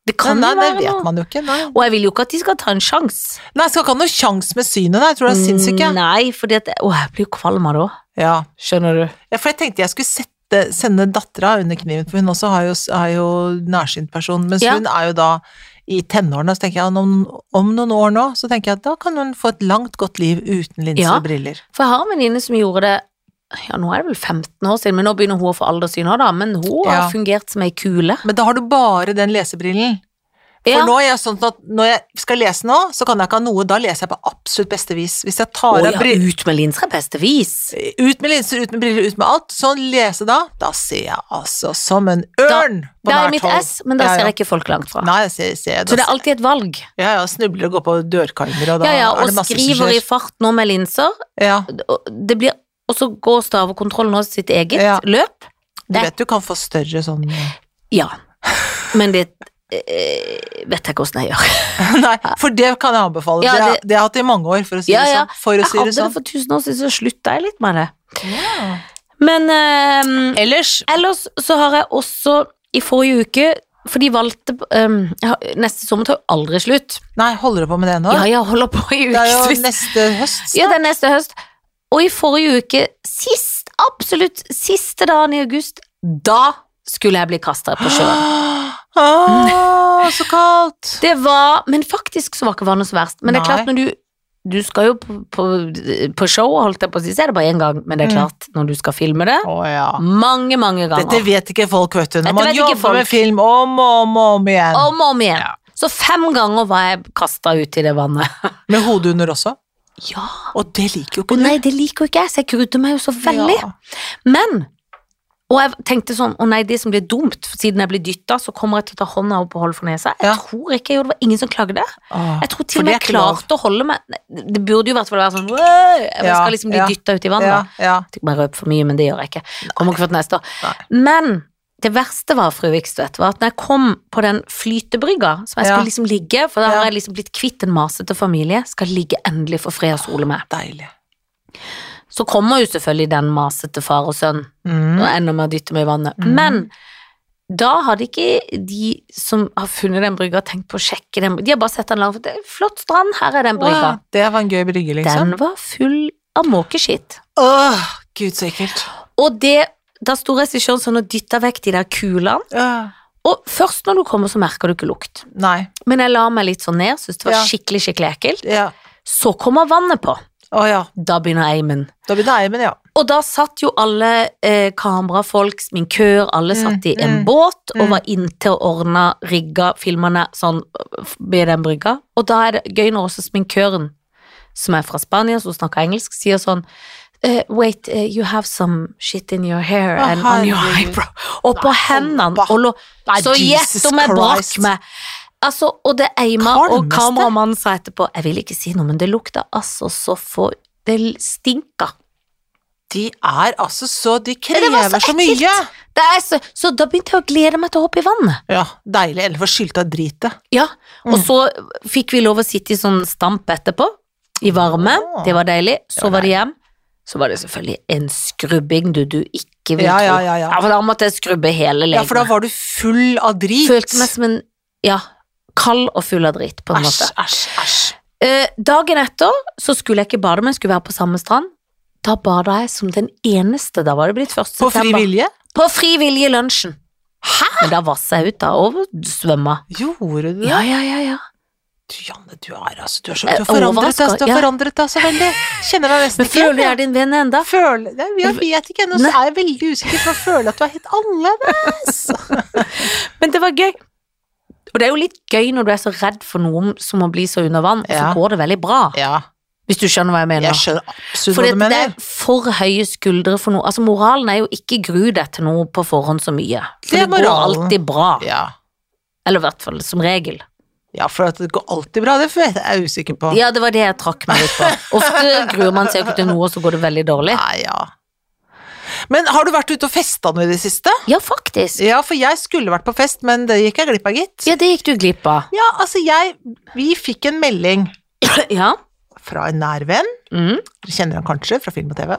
Speaker 1: Det kan
Speaker 2: nei,
Speaker 1: jo
Speaker 2: nei,
Speaker 1: være
Speaker 2: det vet
Speaker 1: noe.
Speaker 2: man jo ikke. Nei,
Speaker 1: Og jeg vil jo ikke at de skal ta en sjanse.
Speaker 2: nei skal ikke ha noe sjans med synet, Mm, nei. Jeg tror det er sinnssyke.
Speaker 1: Nei, fordi at Å, jeg blir jo kvalm av det òg.
Speaker 2: Ja.
Speaker 1: Skjønner du.
Speaker 2: ja, for jeg tenkte jeg skulle sette, sende dattera under kniven, for hun også har jo, er jo nærsynt person, mens
Speaker 1: Ja.
Speaker 2: hun er jo da i tenårene, så tenker jeg om, om noen år nå, så tenker jeg at da kan hun få et langt, godt liv uten linser
Speaker 1: Ja.
Speaker 2: og briller.
Speaker 1: For jeg har en venninne som gjorde det Ja, nå er det vel 15 år siden, men nå begynner hun å få alderssyn òg, da. Men hun
Speaker 2: Ja.
Speaker 1: har fungert som ei kule.
Speaker 2: Men da har du bare den lesebrillen. For
Speaker 1: Ja.
Speaker 2: nå er jeg sånn at når jeg skal lese nå, så kan jeg ikke ha noe, da leser jeg på absolutt beste vis. Hvis jeg tar
Speaker 1: Å
Speaker 2: av
Speaker 1: ja,
Speaker 2: brillene
Speaker 1: ut med linser er beste vis.
Speaker 2: Ut med linser, ut med briller, ut med alt. Sånn lese da, da ser jeg altså som en ørn på
Speaker 1: Da er
Speaker 2: nært
Speaker 1: mitt
Speaker 2: hold.
Speaker 1: S, men da
Speaker 2: Ja, ja.
Speaker 1: ser jeg ikke folk langt fra.
Speaker 2: Nei, jeg ser, ser
Speaker 1: Så det
Speaker 2: da,
Speaker 1: er alltid et valg.
Speaker 2: ja, ja, snubler og går på dørkarmer, og da
Speaker 1: Ja, ja,
Speaker 2: er
Speaker 1: og
Speaker 2: det masse som
Speaker 1: skriver i
Speaker 2: skjer.
Speaker 1: fart nå med linser.
Speaker 2: Ja,
Speaker 1: og Det blir Og så går stavekontrollen også sitt eget
Speaker 2: Ja.
Speaker 1: løp.
Speaker 2: du
Speaker 1: Det-
Speaker 2: vet du kan få større sånn
Speaker 1: Ja. Men det eh, vet jeg hvordan jeg gjør.
Speaker 2: Nei, for det kan jeg anbefale.
Speaker 1: Ja,
Speaker 2: det,
Speaker 1: det-
Speaker 2: har- det har jeg hatt i mange år, for å si
Speaker 1: Ja,
Speaker 2: det
Speaker 1: ja.
Speaker 2: sånn. For å
Speaker 1: Jeg
Speaker 2: si
Speaker 1: hadde
Speaker 2: det
Speaker 1: det
Speaker 2: sånn.
Speaker 1: for tusen år siden, så slutta jeg litt med det.
Speaker 2: Ja.
Speaker 1: Men eh,
Speaker 2: Ellers
Speaker 1: ellers så har jeg også i forrige uke For de valgte eh, jeg har- Neste sommer tar jo aldri slutt.
Speaker 2: Nei, holder du på med det nå?
Speaker 1: Ja, jeg holder på i
Speaker 2: det er jo
Speaker 1: ukevis.
Speaker 2: neste høst.
Speaker 1: Ja, det er neste høst. Og i forrige uke, sist, absolutt siste dagen i august, da skulle jeg bli kasta på sjøen.
Speaker 2: Åh, Ah, så kaldt!
Speaker 1: Det var, Men faktisk så var ikke vannet så verst. Men det er klart,
Speaker 2: Nei.
Speaker 1: når du Du skal jo på, på, på show, holdt jeg på å si, så er det bare én gang, men det er
Speaker 2: Mm.
Speaker 1: klart, når du skal filme det
Speaker 2: Å ja.
Speaker 1: mange, mange ganger.
Speaker 2: Dette vet ikke folk, vet du.
Speaker 1: Dette
Speaker 2: Når man
Speaker 1: vet ikke
Speaker 2: jobber
Speaker 1: folk.
Speaker 2: med film om og om, og om igjen.
Speaker 1: Om og om igjen.
Speaker 2: Ja.
Speaker 1: Så fem ganger var jeg kasta ut i det vannet.
Speaker 2: Med hodet under også.
Speaker 1: Ja,
Speaker 2: Og det liker jo
Speaker 1: og
Speaker 2: ikke du.
Speaker 1: nei, det liker jo ikke jeg, så jeg grudde meg jo så veldig.
Speaker 2: Ja.
Speaker 1: Men Og jeg tenkte sånn, å nei, det som blir dumt, for siden jeg blir dytta, så kommer jeg til å ta hånda opp og holde for nesa. Jeg
Speaker 2: Ja.
Speaker 1: tror ikke jeg gjorde det, var ingen som klagde.
Speaker 2: Åh.
Speaker 1: Jeg tror til
Speaker 2: For
Speaker 1: og med
Speaker 2: det
Speaker 1: jeg
Speaker 2: er ikke lov.
Speaker 1: klarte å holde meg Nei, Det burde jo i hvert fall være sånn «Wow», Jeg
Speaker 2: Ja,
Speaker 1: skal liksom bli
Speaker 2: ja,
Speaker 1: dyttet dytta ut i vannet.
Speaker 2: Ja, ja.
Speaker 1: Jeg skal ikke bare røpe for mye, men det gjør jeg ikke. Kommer ikke for til neste år.
Speaker 2: Nei.
Speaker 1: Men det verste var, fru Vikstvedt, var at når jeg kom på den flytebrygga som jeg
Speaker 2: Ja.
Speaker 1: skulle liksom ligge, for da
Speaker 2: Ja.
Speaker 1: har jeg liksom blitt kvitt en masete familie, skal ligge endelig for fred og sole med.
Speaker 2: Deilig.
Speaker 1: Så kommer jo selvfølgelig den masete far og sønn
Speaker 2: Mm.
Speaker 1: og ender med å dytte meg i vannet.
Speaker 2: Mhm.
Speaker 1: Men da hadde ikke de som har funnet den brygga, tenkt på å sjekke den. De har bare sett den langt. Det er en flott strand, her er den brygga.
Speaker 2: Åh, det var en gøy brygge, liksom.
Speaker 1: Den var full av måkeskitt.
Speaker 2: Åh, gud, så ekkelt.
Speaker 1: Og det, da sto regissøren sånn og dytta vekk de der kulene.
Speaker 2: Åh,
Speaker 1: Og først når du kommer, så merker du ikke lukt.
Speaker 2: Nei.
Speaker 1: Men jeg la meg litt sånn ned, syntes det var
Speaker 2: Ja.
Speaker 1: skikkelig, skikkelig ekkelt.
Speaker 2: Ja.
Speaker 1: Så kommer vannet på.
Speaker 2: Å ja.
Speaker 1: Da begynner eimen.
Speaker 2: Da blir det Eimen, ja.
Speaker 1: Og da satt jo alle eh, kamerafolk, sminkør, alle
Speaker 2: Mm,
Speaker 1: satt i en
Speaker 2: mm,
Speaker 1: båt
Speaker 2: mm.
Speaker 1: og var inntil ordna, rigga filmene sånn f- ved den brygga. Og da er det gøy når også sminkøren, som er fra Spania, som snakker engelsk, sier sånn eh, wait, eh, you have some shit in your hair
Speaker 2: Å,
Speaker 1: and on your
Speaker 2: herregud.
Speaker 1: eyebrow. Og på
Speaker 2: Nei,
Speaker 1: hendene.
Speaker 2: hoppa.
Speaker 1: Og lå,
Speaker 2: Nei,
Speaker 1: så gjett
Speaker 2: Jesus
Speaker 1: om jeg brakk
Speaker 2: Christ.
Speaker 1: meg. Altså, og det eima, og
Speaker 2: Kvalmeste.
Speaker 1: kameramannen sa etterpå Jeg vil ikke si noe, men det lukta altså så for Det stinka.
Speaker 2: De er altså så De
Speaker 1: det var
Speaker 2: krever
Speaker 1: så
Speaker 2: så
Speaker 1: ekkelt.
Speaker 2: mye.
Speaker 1: Det er så, så da begynte jeg å glede meg til å hoppe i vannet.
Speaker 2: Ja, deilig. Eller få skylta dritet.
Speaker 1: Ja, Og
Speaker 2: Mm.
Speaker 1: så fikk vi lov å sitte i sånn stamp etterpå, i varme.
Speaker 2: Åh.
Speaker 1: Det var deilig. Så
Speaker 2: Ja,
Speaker 1: var det hjem. Så var det selvfølgelig en skrubbing du, du ikke vil
Speaker 2: Ja, ja,
Speaker 1: tro.
Speaker 2: ja, ja.
Speaker 1: Ja, for da måtte jeg skrubbe hele
Speaker 2: Ja, for da
Speaker 1: legemet.
Speaker 2: var du full av drit.
Speaker 1: Følte meg som en ja, kald og full av dritt, på en
Speaker 2: Æsj,
Speaker 1: måte.
Speaker 2: æsj, æsj.
Speaker 1: Eh, dagen etter så skulle jeg ikke bade, men jeg skulle være på samme strand. Da bada jeg som den eneste. Da var det blitt 1.
Speaker 2: På fri
Speaker 1: september.
Speaker 2: vilje?
Speaker 1: På fri vilje i lunsjen. Hæ? Men da vasset jeg ut da, og svømma.
Speaker 2: Gjorde du det?
Speaker 1: Ja, ja, ja, ja.
Speaker 2: Du, Janne, du er altså Du, er så,
Speaker 1: Jeg
Speaker 2: du har forandret deg,
Speaker 1: overrasker,
Speaker 2: du har
Speaker 1: ja.
Speaker 2: forandret deg så veldig. Kjenner deg nesten
Speaker 1: Men
Speaker 2: ikke
Speaker 1: føler du
Speaker 2: igjen.
Speaker 1: er din venn enda?
Speaker 2: jeg. Føler, Nei, jeg vet ikke ennå, så er jeg veldig usikker, for jeg føler at du er helt annerledes.
Speaker 1: Men det var gøy. Og det er jo litt gøy når du er så redd for noen som må bli så under vann, så
Speaker 2: Ja.
Speaker 1: går det veldig bra.
Speaker 2: Ja,
Speaker 1: Hvis du skjønner hva jeg mener.
Speaker 2: jeg skjønner absolutt
Speaker 1: For
Speaker 2: hva
Speaker 1: det,
Speaker 2: du
Speaker 1: det er
Speaker 2: mener.
Speaker 1: for høye skuldre for noe. Altså moralen er jo ikke gru deg til noe på forhånd så mye. For
Speaker 2: Det
Speaker 1: det,
Speaker 2: er
Speaker 1: går
Speaker 2: moralen.
Speaker 1: alltid bra.
Speaker 2: Ja.
Speaker 1: Eller i hvert fall som regel.
Speaker 2: ja, for at det går alltid bra, det er jeg usikker på.
Speaker 1: Ja, det var det jeg trakk meg litt på. Ofte gruer man seg jo ikke til noe, og så går det veldig dårlig.
Speaker 2: Nei, ja. Men har du vært ute og festa nå i det siste?
Speaker 1: Ja, faktisk.
Speaker 2: Ja, for jeg skulle vært på fest, men det gikk jeg glipp av, gitt.
Speaker 1: Ja, det gikk du glipp av.
Speaker 2: Ja, altså jeg Vi fikk en melding
Speaker 1: Ja.
Speaker 2: fra en nær venn,
Speaker 1: Mm.
Speaker 2: dere kjenner han kanskje fra film og TV,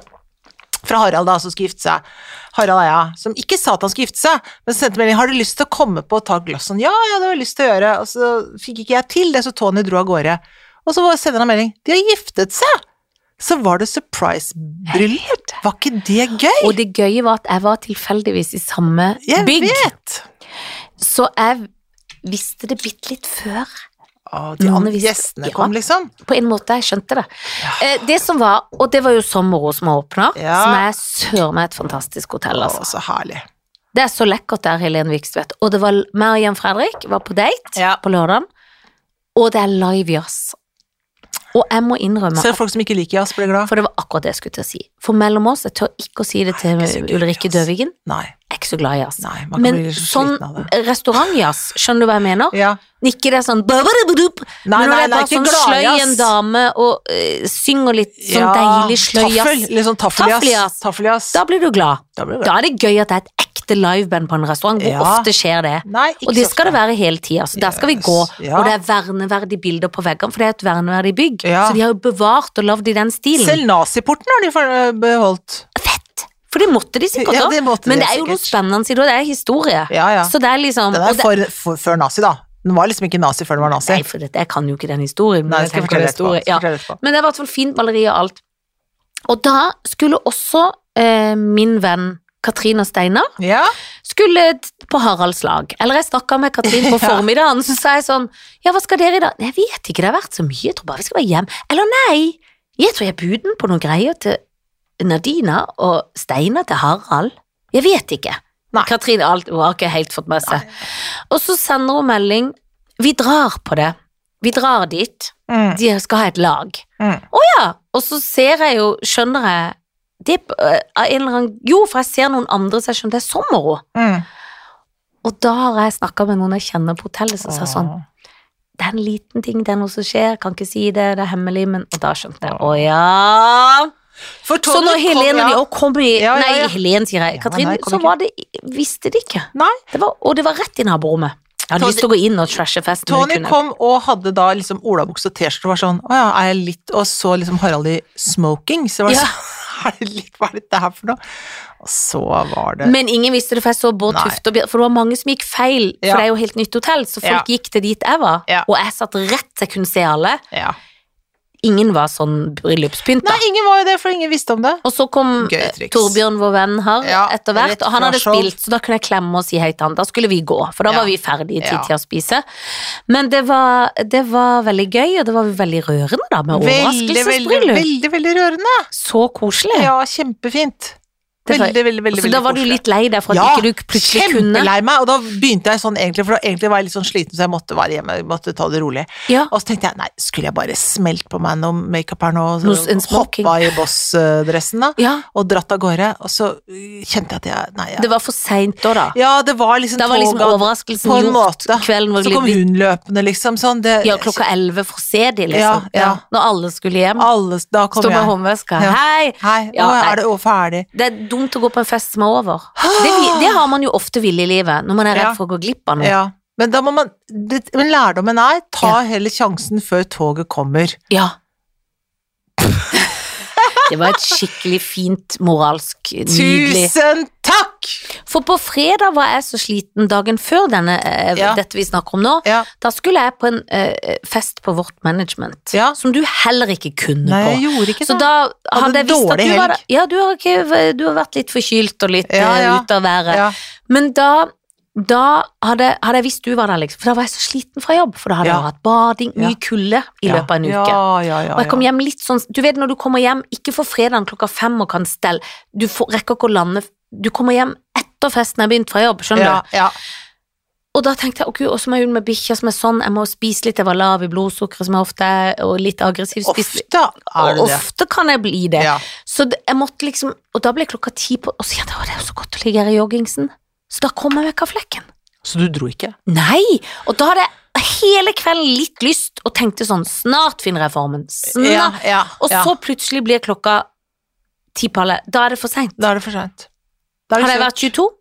Speaker 2: fra Harald da, som skal gifte seg. Harald Eia, som ikke sa at han skulle gifte seg, men sendte melding 'Har du lyst til å komme på og ta et glass?' Sånn, ja, ja, det har jeg lyst til å gjøre. Og så fikk ikke jeg til det, så Tony dro av gårde. Og så sender han melding 'De har giftet seg!' Så var det surprise-bryllup. Var ikke det gøy?
Speaker 1: Og det gøye var at jeg var tilfeldigvis i samme
Speaker 2: Jeg
Speaker 1: bygg,
Speaker 2: vet!
Speaker 1: så jeg visste det bitte litt før.
Speaker 2: Å, de
Speaker 1: Noen
Speaker 2: andre
Speaker 1: visste-
Speaker 2: gjestene
Speaker 1: ja.
Speaker 2: kom, liksom.
Speaker 1: På en måte, jeg skjønte det. Eh, det som var, og det var jo Sommero som har åpna,
Speaker 2: Ja.
Speaker 1: som er søren meg et fantastisk hotell,
Speaker 2: Å,
Speaker 1: altså.
Speaker 2: så herlig.
Speaker 1: Det er så lekkert der, Helene Vikstvedt. Og det var meg og Jan Fredrik var på date
Speaker 2: Ja.
Speaker 1: på lørdagen, og det er live jazz. Og jeg må innrømme
Speaker 2: Selv folk som ikke liker jazz, blir glad.
Speaker 1: For det var akkurat det jeg skulle til å si. For mellom oss, jeg tør ikke å si det til
Speaker 2: Nei, jeg er ikke så altså. glad i
Speaker 1: Ulrikke
Speaker 2: jazz.
Speaker 1: Døvigen,
Speaker 2: Nei,
Speaker 1: jeg er ikke så glad i jazz.
Speaker 2: nei, man kan
Speaker 1: Men
Speaker 2: bli så
Speaker 1: sånn
Speaker 2: sliten av det.
Speaker 1: restaurantjazz, skjønner du hva jeg mener?
Speaker 2: Ja.
Speaker 1: Ikke det er sånn ba-ba-da-ba-dup,
Speaker 2: Nei, nei,
Speaker 1: Men når det er
Speaker 2: nei,
Speaker 1: bare
Speaker 2: ikke
Speaker 1: sånn
Speaker 2: glad i
Speaker 1: sløy
Speaker 2: jazz.
Speaker 1: en dame og eh, synger litt sånn deilig sløy jazz,
Speaker 2: Taffel, litt sånn taffeljazz.
Speaker 1: Taffeljazz.
Speaker 2: Taffeljazz.
Speaker 1: da blir du glad.
Speaker 2: Da blir det bra.
Speaker 1: Da er det gøy at det er et ekte liveband på en restaurant. Hvor
Speaker 2: Ja.
Speaker 1: ofte skjer det?
Speaker 2: Nei, ikke
Speaker 1: Og det
Speaker 2: så
Speaker 1: skal det
Speaker 2: ofte.
Speaker 1: være hele tida. Så der skal vi
Speaker 2: Yes.
Speaker 1: gå.
Speaker 2: Ja.
Speaker 1: Og det er verneverdige bilder på veggene, for det er et verneverdig bygg.
Speaker 2: Ja.
Speaker 1: Så de har jo bevart og lagd i den stilen.
Speaker 2: Selv naziporten har de for- eh, beholdt.
Speaker 1: Fett! For det måtte de sikkert
Speaker 2: Ja,
Speaker 1: òg.
Speaker 2: det måtte
Speaker 1: Men
Speaker 2: de
Speaker 1: det er jo noe
Speaker 2: sikkert.
Speaker 1: spennende i det, og det er historie.
Speaker 2: Ja, ja.
Speaker 1: Så det er liksom
Speaker 2: Den
Speaker 1: og
Speaker 2: er
Speaker 1: det,
Speaker 2: for, for, før nazi, da. Den var liksom ikke nazi før den var nazi.
Speaker 1: Nei, for dette, jeg kan jo ikke den historien.
Speaker 2: Nei, det
Speaker 1: jeg
Speaker 2: skal jeg
Speaker 1: tenker
Speaker 2: fortelle
Speaker 1: den historien,
Speaker 2: etterpå.
Speaker 1: ja.
Speaker 2: Skal jeg fortelle etterpå.
Speaker 1: Men det er i hvert fall fint maleri og alt. Og da skulle også eh, min venn Katrine Steinar
Speaker 2: Ja,
Speaker 1: skulle t- på Haralds lag. Eller jeg snakka med Katrin på
Speaker 2: Ja.
Speaker 1: formiddagen, så sa jeg sånn Ja, hva skal dere i dag? Nei, Jeg vet ikke, det har vært så mye, jeg tror bare vi skal være hjem. Eller nei, jeg tror jeg buden på noen greier til Nadina og Steinar til Harald. Jeg vet ikke.
Speaker 2: Nei.
Speaker 1: Katrin alt, hun har ikke helt fått med seg. Og så sender hun melding Vi drar på det. Vi drar dit.
Speaker 2: mm,
Speaker 1: De skal ha et lag.
Speaker 2: mm.
Speaker 1: Ja, og så ser jeg jo, skjønner jeg det, er på- øh, av en eller annen, Jo, for jeg ser noen andre, så jeg skjønner det er sommerro.
Speaker 2: mm.
Speaker 1: Og da har jeg snakka med noen jeg kjenner på hotellet, som sa sånn Det er en liten ting, det er noe som skjer, kan ikke si det, det er hemmelig, men Og da skjønte jeg. Å ja.
Speaker 2: For
Speaker 1: Så
Speaker 2: Tony
Speaker 1: når
Speaker 2: kom-
Speaker 1: Helene
Speaker 2: ja.
Speaker 1: og kom i
Speaker 2: Ja, ja,
Speaker 1: Nei,
Speaker 2: ja.
Speaker 1: Helen, sier jeg.
Speaker 2: Ja,
Speaker 1: Katrin,
Speaker 2: nei, kom
Speaker 1: så
Speaker 2: ikke.
Speaker 1: var det Visste de ikke.
Speaker 2: Nei.
Speaker 1: Det var, og det var rett i naborommet. Jeg hadde
Speaker 2: Tony-
Speaker 1: lyst til å gå inn og trashe festen. men
Speaker 2: Tony
Speaker 1: jeg kunne-
Speaker 2: kom og hadde da liksom olabukse og T-skjorte og var sånn Å ja, er jeg litt Og så liksom Harald i smoking, så var det
Speaker 1: Ja.
Speaker 2: sånn Er det litt Hva er dette her for noe? Og så var det
Speaker 1: Men ingen visste det, for jeg så Bård
Speaker 2: Nei.
Speaker 1: Tufte og Bjørn- For det var mange som gikk feil, for
Speaker 2: Ja.
Speaker 1: det er jo helt nytt hotell, så folk gikk til dit jeg var.
Speaker 2: Ja.
Speaker 1: Og jeg satt rett, så jeg kunne se alle.
Speaker 2: Ja.
Speaker 1: Ingen var sånn bryllupspynt, da.
Speaker 2: Nei, ingen var jo det, for ingen visste om det.
Speaker 1: Og så kom
Speaker 2: Gøy
Speaker 1: eh,
Speaker 2: triks.
Speaker 1: Torbjørn, vår venn, her
Speaker 2: Ja,
Speaker 1: etter hvert,
Speaker 2: rett
Speaker 1: og han
Speaker 2: fra
Speaker 1: hadde
Speaker 2: show.
Speaker 1: spilt, så da kunne jeg klemme og si hei til han. Da skulle vi gå, for da
Speaker 2: Ja.
Speaker 1: var vi ferdige i tid
Speaker 2: Ja.
Speaker 1: til å spise. Men det var, det var veldig gøy, og det var veldig rørende, da, med
Speaker 2: Veldig, veldig,
Speaker 1: overraskelsesbryllup.
Speaker 2: veldig, veldig rørende.
Speaker 1: Så koselig.
Speaker 2: Ja, kjempefint.
Speaker 1: Det var-
Speaker 2: Veldig, veldig, veldig, veldig
Speaker 1: så da var du
Speaker 2: koselig.
Speaker 1: litt lei deg for at ikke du plutselig kunne
Speaker 2: kjempelei meg, og da begynte jeg sånn egentlig, for da egentlig var jeg litt sånn sliten, så jeg måtte være hjemme, jeg måtte ta det rolig.
Speaker 1: Ja,
Speaker 2: Og så tenkte jeg, nei, skulle jeg bare smelt på meg noe makeup her nå,
Speaker 1: Noe
Speaker 2: og
Speaker 1: s- en smoking.
Speaker 2: hoppa i boss-dressen da,
Speaker 1: ja.
Speaker 2: og dratt av gårde, og så øh, kjente jeg at jeg, nei, jeg,
Speaker 1: Det var for seint da, da.
Speaker 2: ja, det var liksom
Speaker 1: Da var liksom
Speaker 2: toget,
Speaker 1: overraskelsen
Speaker 2: på en
Speaker 1: gjort.
Speaker 2: måte.
Speaker 1: Kvelden var
Speaker 2: så kom
Speaker 1: glidd.
Speaker 2: hun løpende liksom, sånn, det,
Speaker 1: Ja, klokka elleve for å se de,
Speaker 2: Ja,
Speaker 1: liksom. Ja,
Speaker 2: ja.
Speaker 1: Når alle skulle hjem.
Speaker 2: alle, da kom
Speaker 1: Stå med
Speaker 2: jeg,
Speaker 1: håndveska.
Speaker 2: Ja.
Speaker 1: Hei!
Speaker 2: hei,
Speaker 1: Ja,
Speaker 2: nå
Speaker 1: nei.
Speaker 2: er det over ferdig.
Speaker 1: Det er dumt å gå på en fest som er over. Det, vi- det har man jo ofte villig i livet, når man er redd
Speaker 2: Ja.
Speaker 1: for å gå glipp av noe. Ja.
Speaker 2: Ja, men da må man, det, men lærdommen er, ta
Speaker 1: Mm. Ja.
Speaker 2: heller sjansen før toget kommer.
Speaker 1: Det var et skikkelig fint, moralsk, nydelig
Speaker 2: Tusen takk!
Speaker 1: For på fredag var jeg så sliten dagen før denne, eh,
Speaker 2: Ja.
Speaker 1: dette vi snakker om nå.
Speaker 2: Ja.
Speaker 1: Da skulle jeg på en eh, fest på vårt management,
Speaker 2: Ja.
Speaker 1: som du heller ikke kunne
Speaker 2: Nei,
Speaker 1: på.
Speaker 2: jeg gjorde ikke
Speaker 1: Så
Speaker 2: det.
Speaker 1: da hadde jeg
Speaker 2: en
Speaker 1: visst
Speaker 2: dårlig
Speaker 1: at du var der.
Speaker 2: helg.
Speaker 1: Ja, du har, ikke, du har vært litt forkylt og litt
Speaker 2: Ja,
Speaker 1: eh,
Speaker 2: ja.
Speaker 1: ute av været.
Speaker 2: ja.
Speaker 1: Men da, da hadde, hadde jeg visst du var der, liksom. For da var jeg så sliten fra jobb. For da hadde
Speaker 2: Ja.
Speaker 1: jeg hatt bading, mye
Speaker 2: Ja.
Speaker 1: kulde i
Speaker 2: Ja.
Speaker 1: løpet av en uke.
Speaker 2: Ja, ja, ja,
Speaker 1: Og jeg kom
Speaker 2: ja.
Speaker 1: hjem litt sånn Du vet når du kommer hjem, ikke for fredagen klokka fem og kan stelle, du får, rekker ikke å lande Du kommer hjem etter festen er begynt fra jobb, skjønner
Speaker 2: Ja,
Speaker 1: du?
Speaker 2: ja.
Speaker 1: Og da tenkte jeg, å gud, og så må jeg ut med bikkja som er sånn, jeg må spise litt, jeg var lav i blodsukkeret som jeg ofte er, og litt aggressiv. spiste-
Speaker 2: Ofte er det
Speaker 1: og
Speaker 2: det.
Speaker 1: ofte kan jeg bli det.
Speaker 2: Ja.
Speaker 1: Så det, jeg måtte liksom Og da ble klokka ti på Og så kjente jeg «Å, det er jo så godt å ligge her i joggingsen Så da kom jeg vekk av flekken
Speaker 2: Så du dro ikke?
Speaker 1: Nei, og da hadde jeg hele kvelden litt lyst Og tenkte sånn, snart finner jeg formen Snart
Speaker 2: Ja, ja,
Speaker 1: Og
Speaker 2: ja.
Speaker 1: så plutselig blir klokka ti på alle Da er det for sent
Speaker 2: Da er det for sent. Da er det
Speaker 1: Hadde jeg
Speaker 2: for-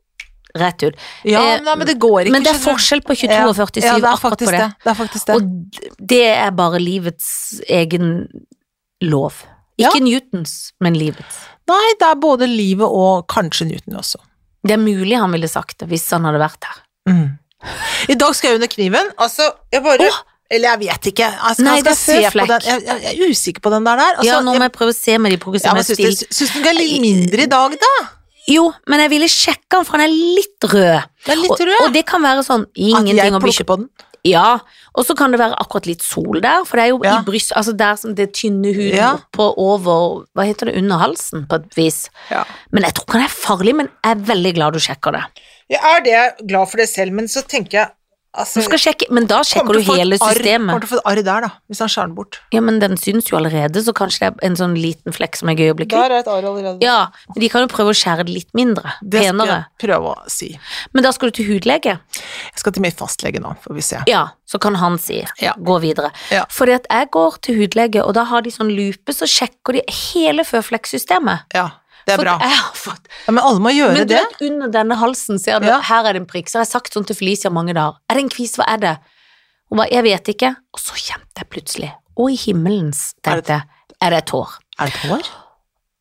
Speaker 1: vært 22? Rett ut
Speaker 2: Ja,
Speaker 1: eh,
Speaker 2: men, nei, men det går ikke.
Speaker 1: Men det er
Speaker 2: skjønner du.
Speaker 1: forskjell på 22
Speaker 2: Ja,
Speaker 1: og 47
Speaker 2: Ja, det er
Speaker 1: akkurat på
Speaker 2: faktisk
Speaker 1: det.
Speaker 2: det. Det er faktisk det.
Speaker 1: Og d- det er bare livets egen lov
Speaker 2: Ja.
Speaker 1: Ikke Newtons, men livets
Speaker 2: Nei, det er både livet og kanskje Newton også.
Speaker 1: Det er mulig han ville sagt det hvis han hadde vært her
Speaker 2: Mm. I dag skal jeg under kniven. Altså, jeg bare Eller jeg vet ikke. Jeg skal,
Speaker 1: Nei,
Speaker 2: jeg
Speaker 1: det er
Speaker 2: skal se på
Speaker 1: føflekk.
Speaker 2: den. Jeg, jeg, jeg er usikker på den der. der. Altså,
Speaker 1: ja, nå
Speaker 2: jeg,
Speaker 1: må jeg prøve å se med de
Speaker 2: ja,
Speaker 1: progressive
Speaker 2: men
Speaker 1: stil.
Speaker 2: syns, du- syns du den er litt mindre i dag, da?
Speaker 1: Jo, men jeg ville sjekke han, for han er litt rød.
Speaker 2: Den er litt
Speaker 1: Og,
Speaker 2: rød.
Speaker 1: og det kan være sånn
Speaker 2: At
Speaker 1: ingenting
Speaker 2: jeg
Speaker 1: å bli
Speaker 2: plukker
Speaker 1: kjøpt.
Speaker 2: på den.
Speaker 1: Ja, og så kan det være akkurat litt sol der, for det er jo
Speaker 2: Ja.
Speaker 1: i bryst, altså der som det er tynne huden
Speaker 2: Ja.
Speaker 1: oppå over, hva heter det, under halsen på et vis.
Speaker 2: Ja.
Speaker 1: Men jeg tror ikke han er farlig, men jeg er veldig glad du sjekker det.
Speaker 2: Jeg er det, glad for det selv, men så tenker jeg altså,
Speaker 1: Du skal sjekke, men da
Speaker 2: kommer
Speaker 1: sjekker
Speaker 2: til å
Speaker 1: du
Speaker 2: få et
Speaker 1: hele
Speaker 2: arr- Kommer til
Speaker 1: systemet.
Speaker 2: å få et arr der, da, hvis han skjærer den bort.
Speaker 1: Ja, men den syns jo allerede, så kanskje det er en sånn liten flekk som er gøy å bli kvitt.
Speaker 2: Der er et arr allerede.
Speaker 1: Ja, men de kan jo prøve å skjære det litt mindre,
Speaker 2: det skal
Speaker 1: penere.
Speaker 2: jeg prøve å si.
Speaker 1: Men da skal du til hudlege.
Speaker 2: Jeg skal til min fastlege nå, får vi se.
Speaker 1: Ja, så kan han si
Speaker 2: Ja.
Speaker 1: gå videre.
Speaker 2: Ja.
Speaker 1: Fordi at jeg går til hudlege, og da har de sånn lupe, så sjekker de hele føflekksystemet.
Speaker 2: Ja. Det er bra.
Speaker 1: For jeg har fått
Speaker 2: Ja, men alle må gjøre
Speaker 1: Men du
Speaker 2: det.
Speaker 1: vet, under denne halsen ser du,
Speaker 2: Ja.
Speaker 1: her er det en prikk. Så har jeg sagt sånn til Felicia mange dager. Er det en kvis, hva er det? Hun bare, jeg vet ikke. Og så kjente jeg plutselig, å i himmelens,
Speaker 2: Er det-
Speaker 1: tenkte jeg, er det et hår?
Speaker 2: Er det hår?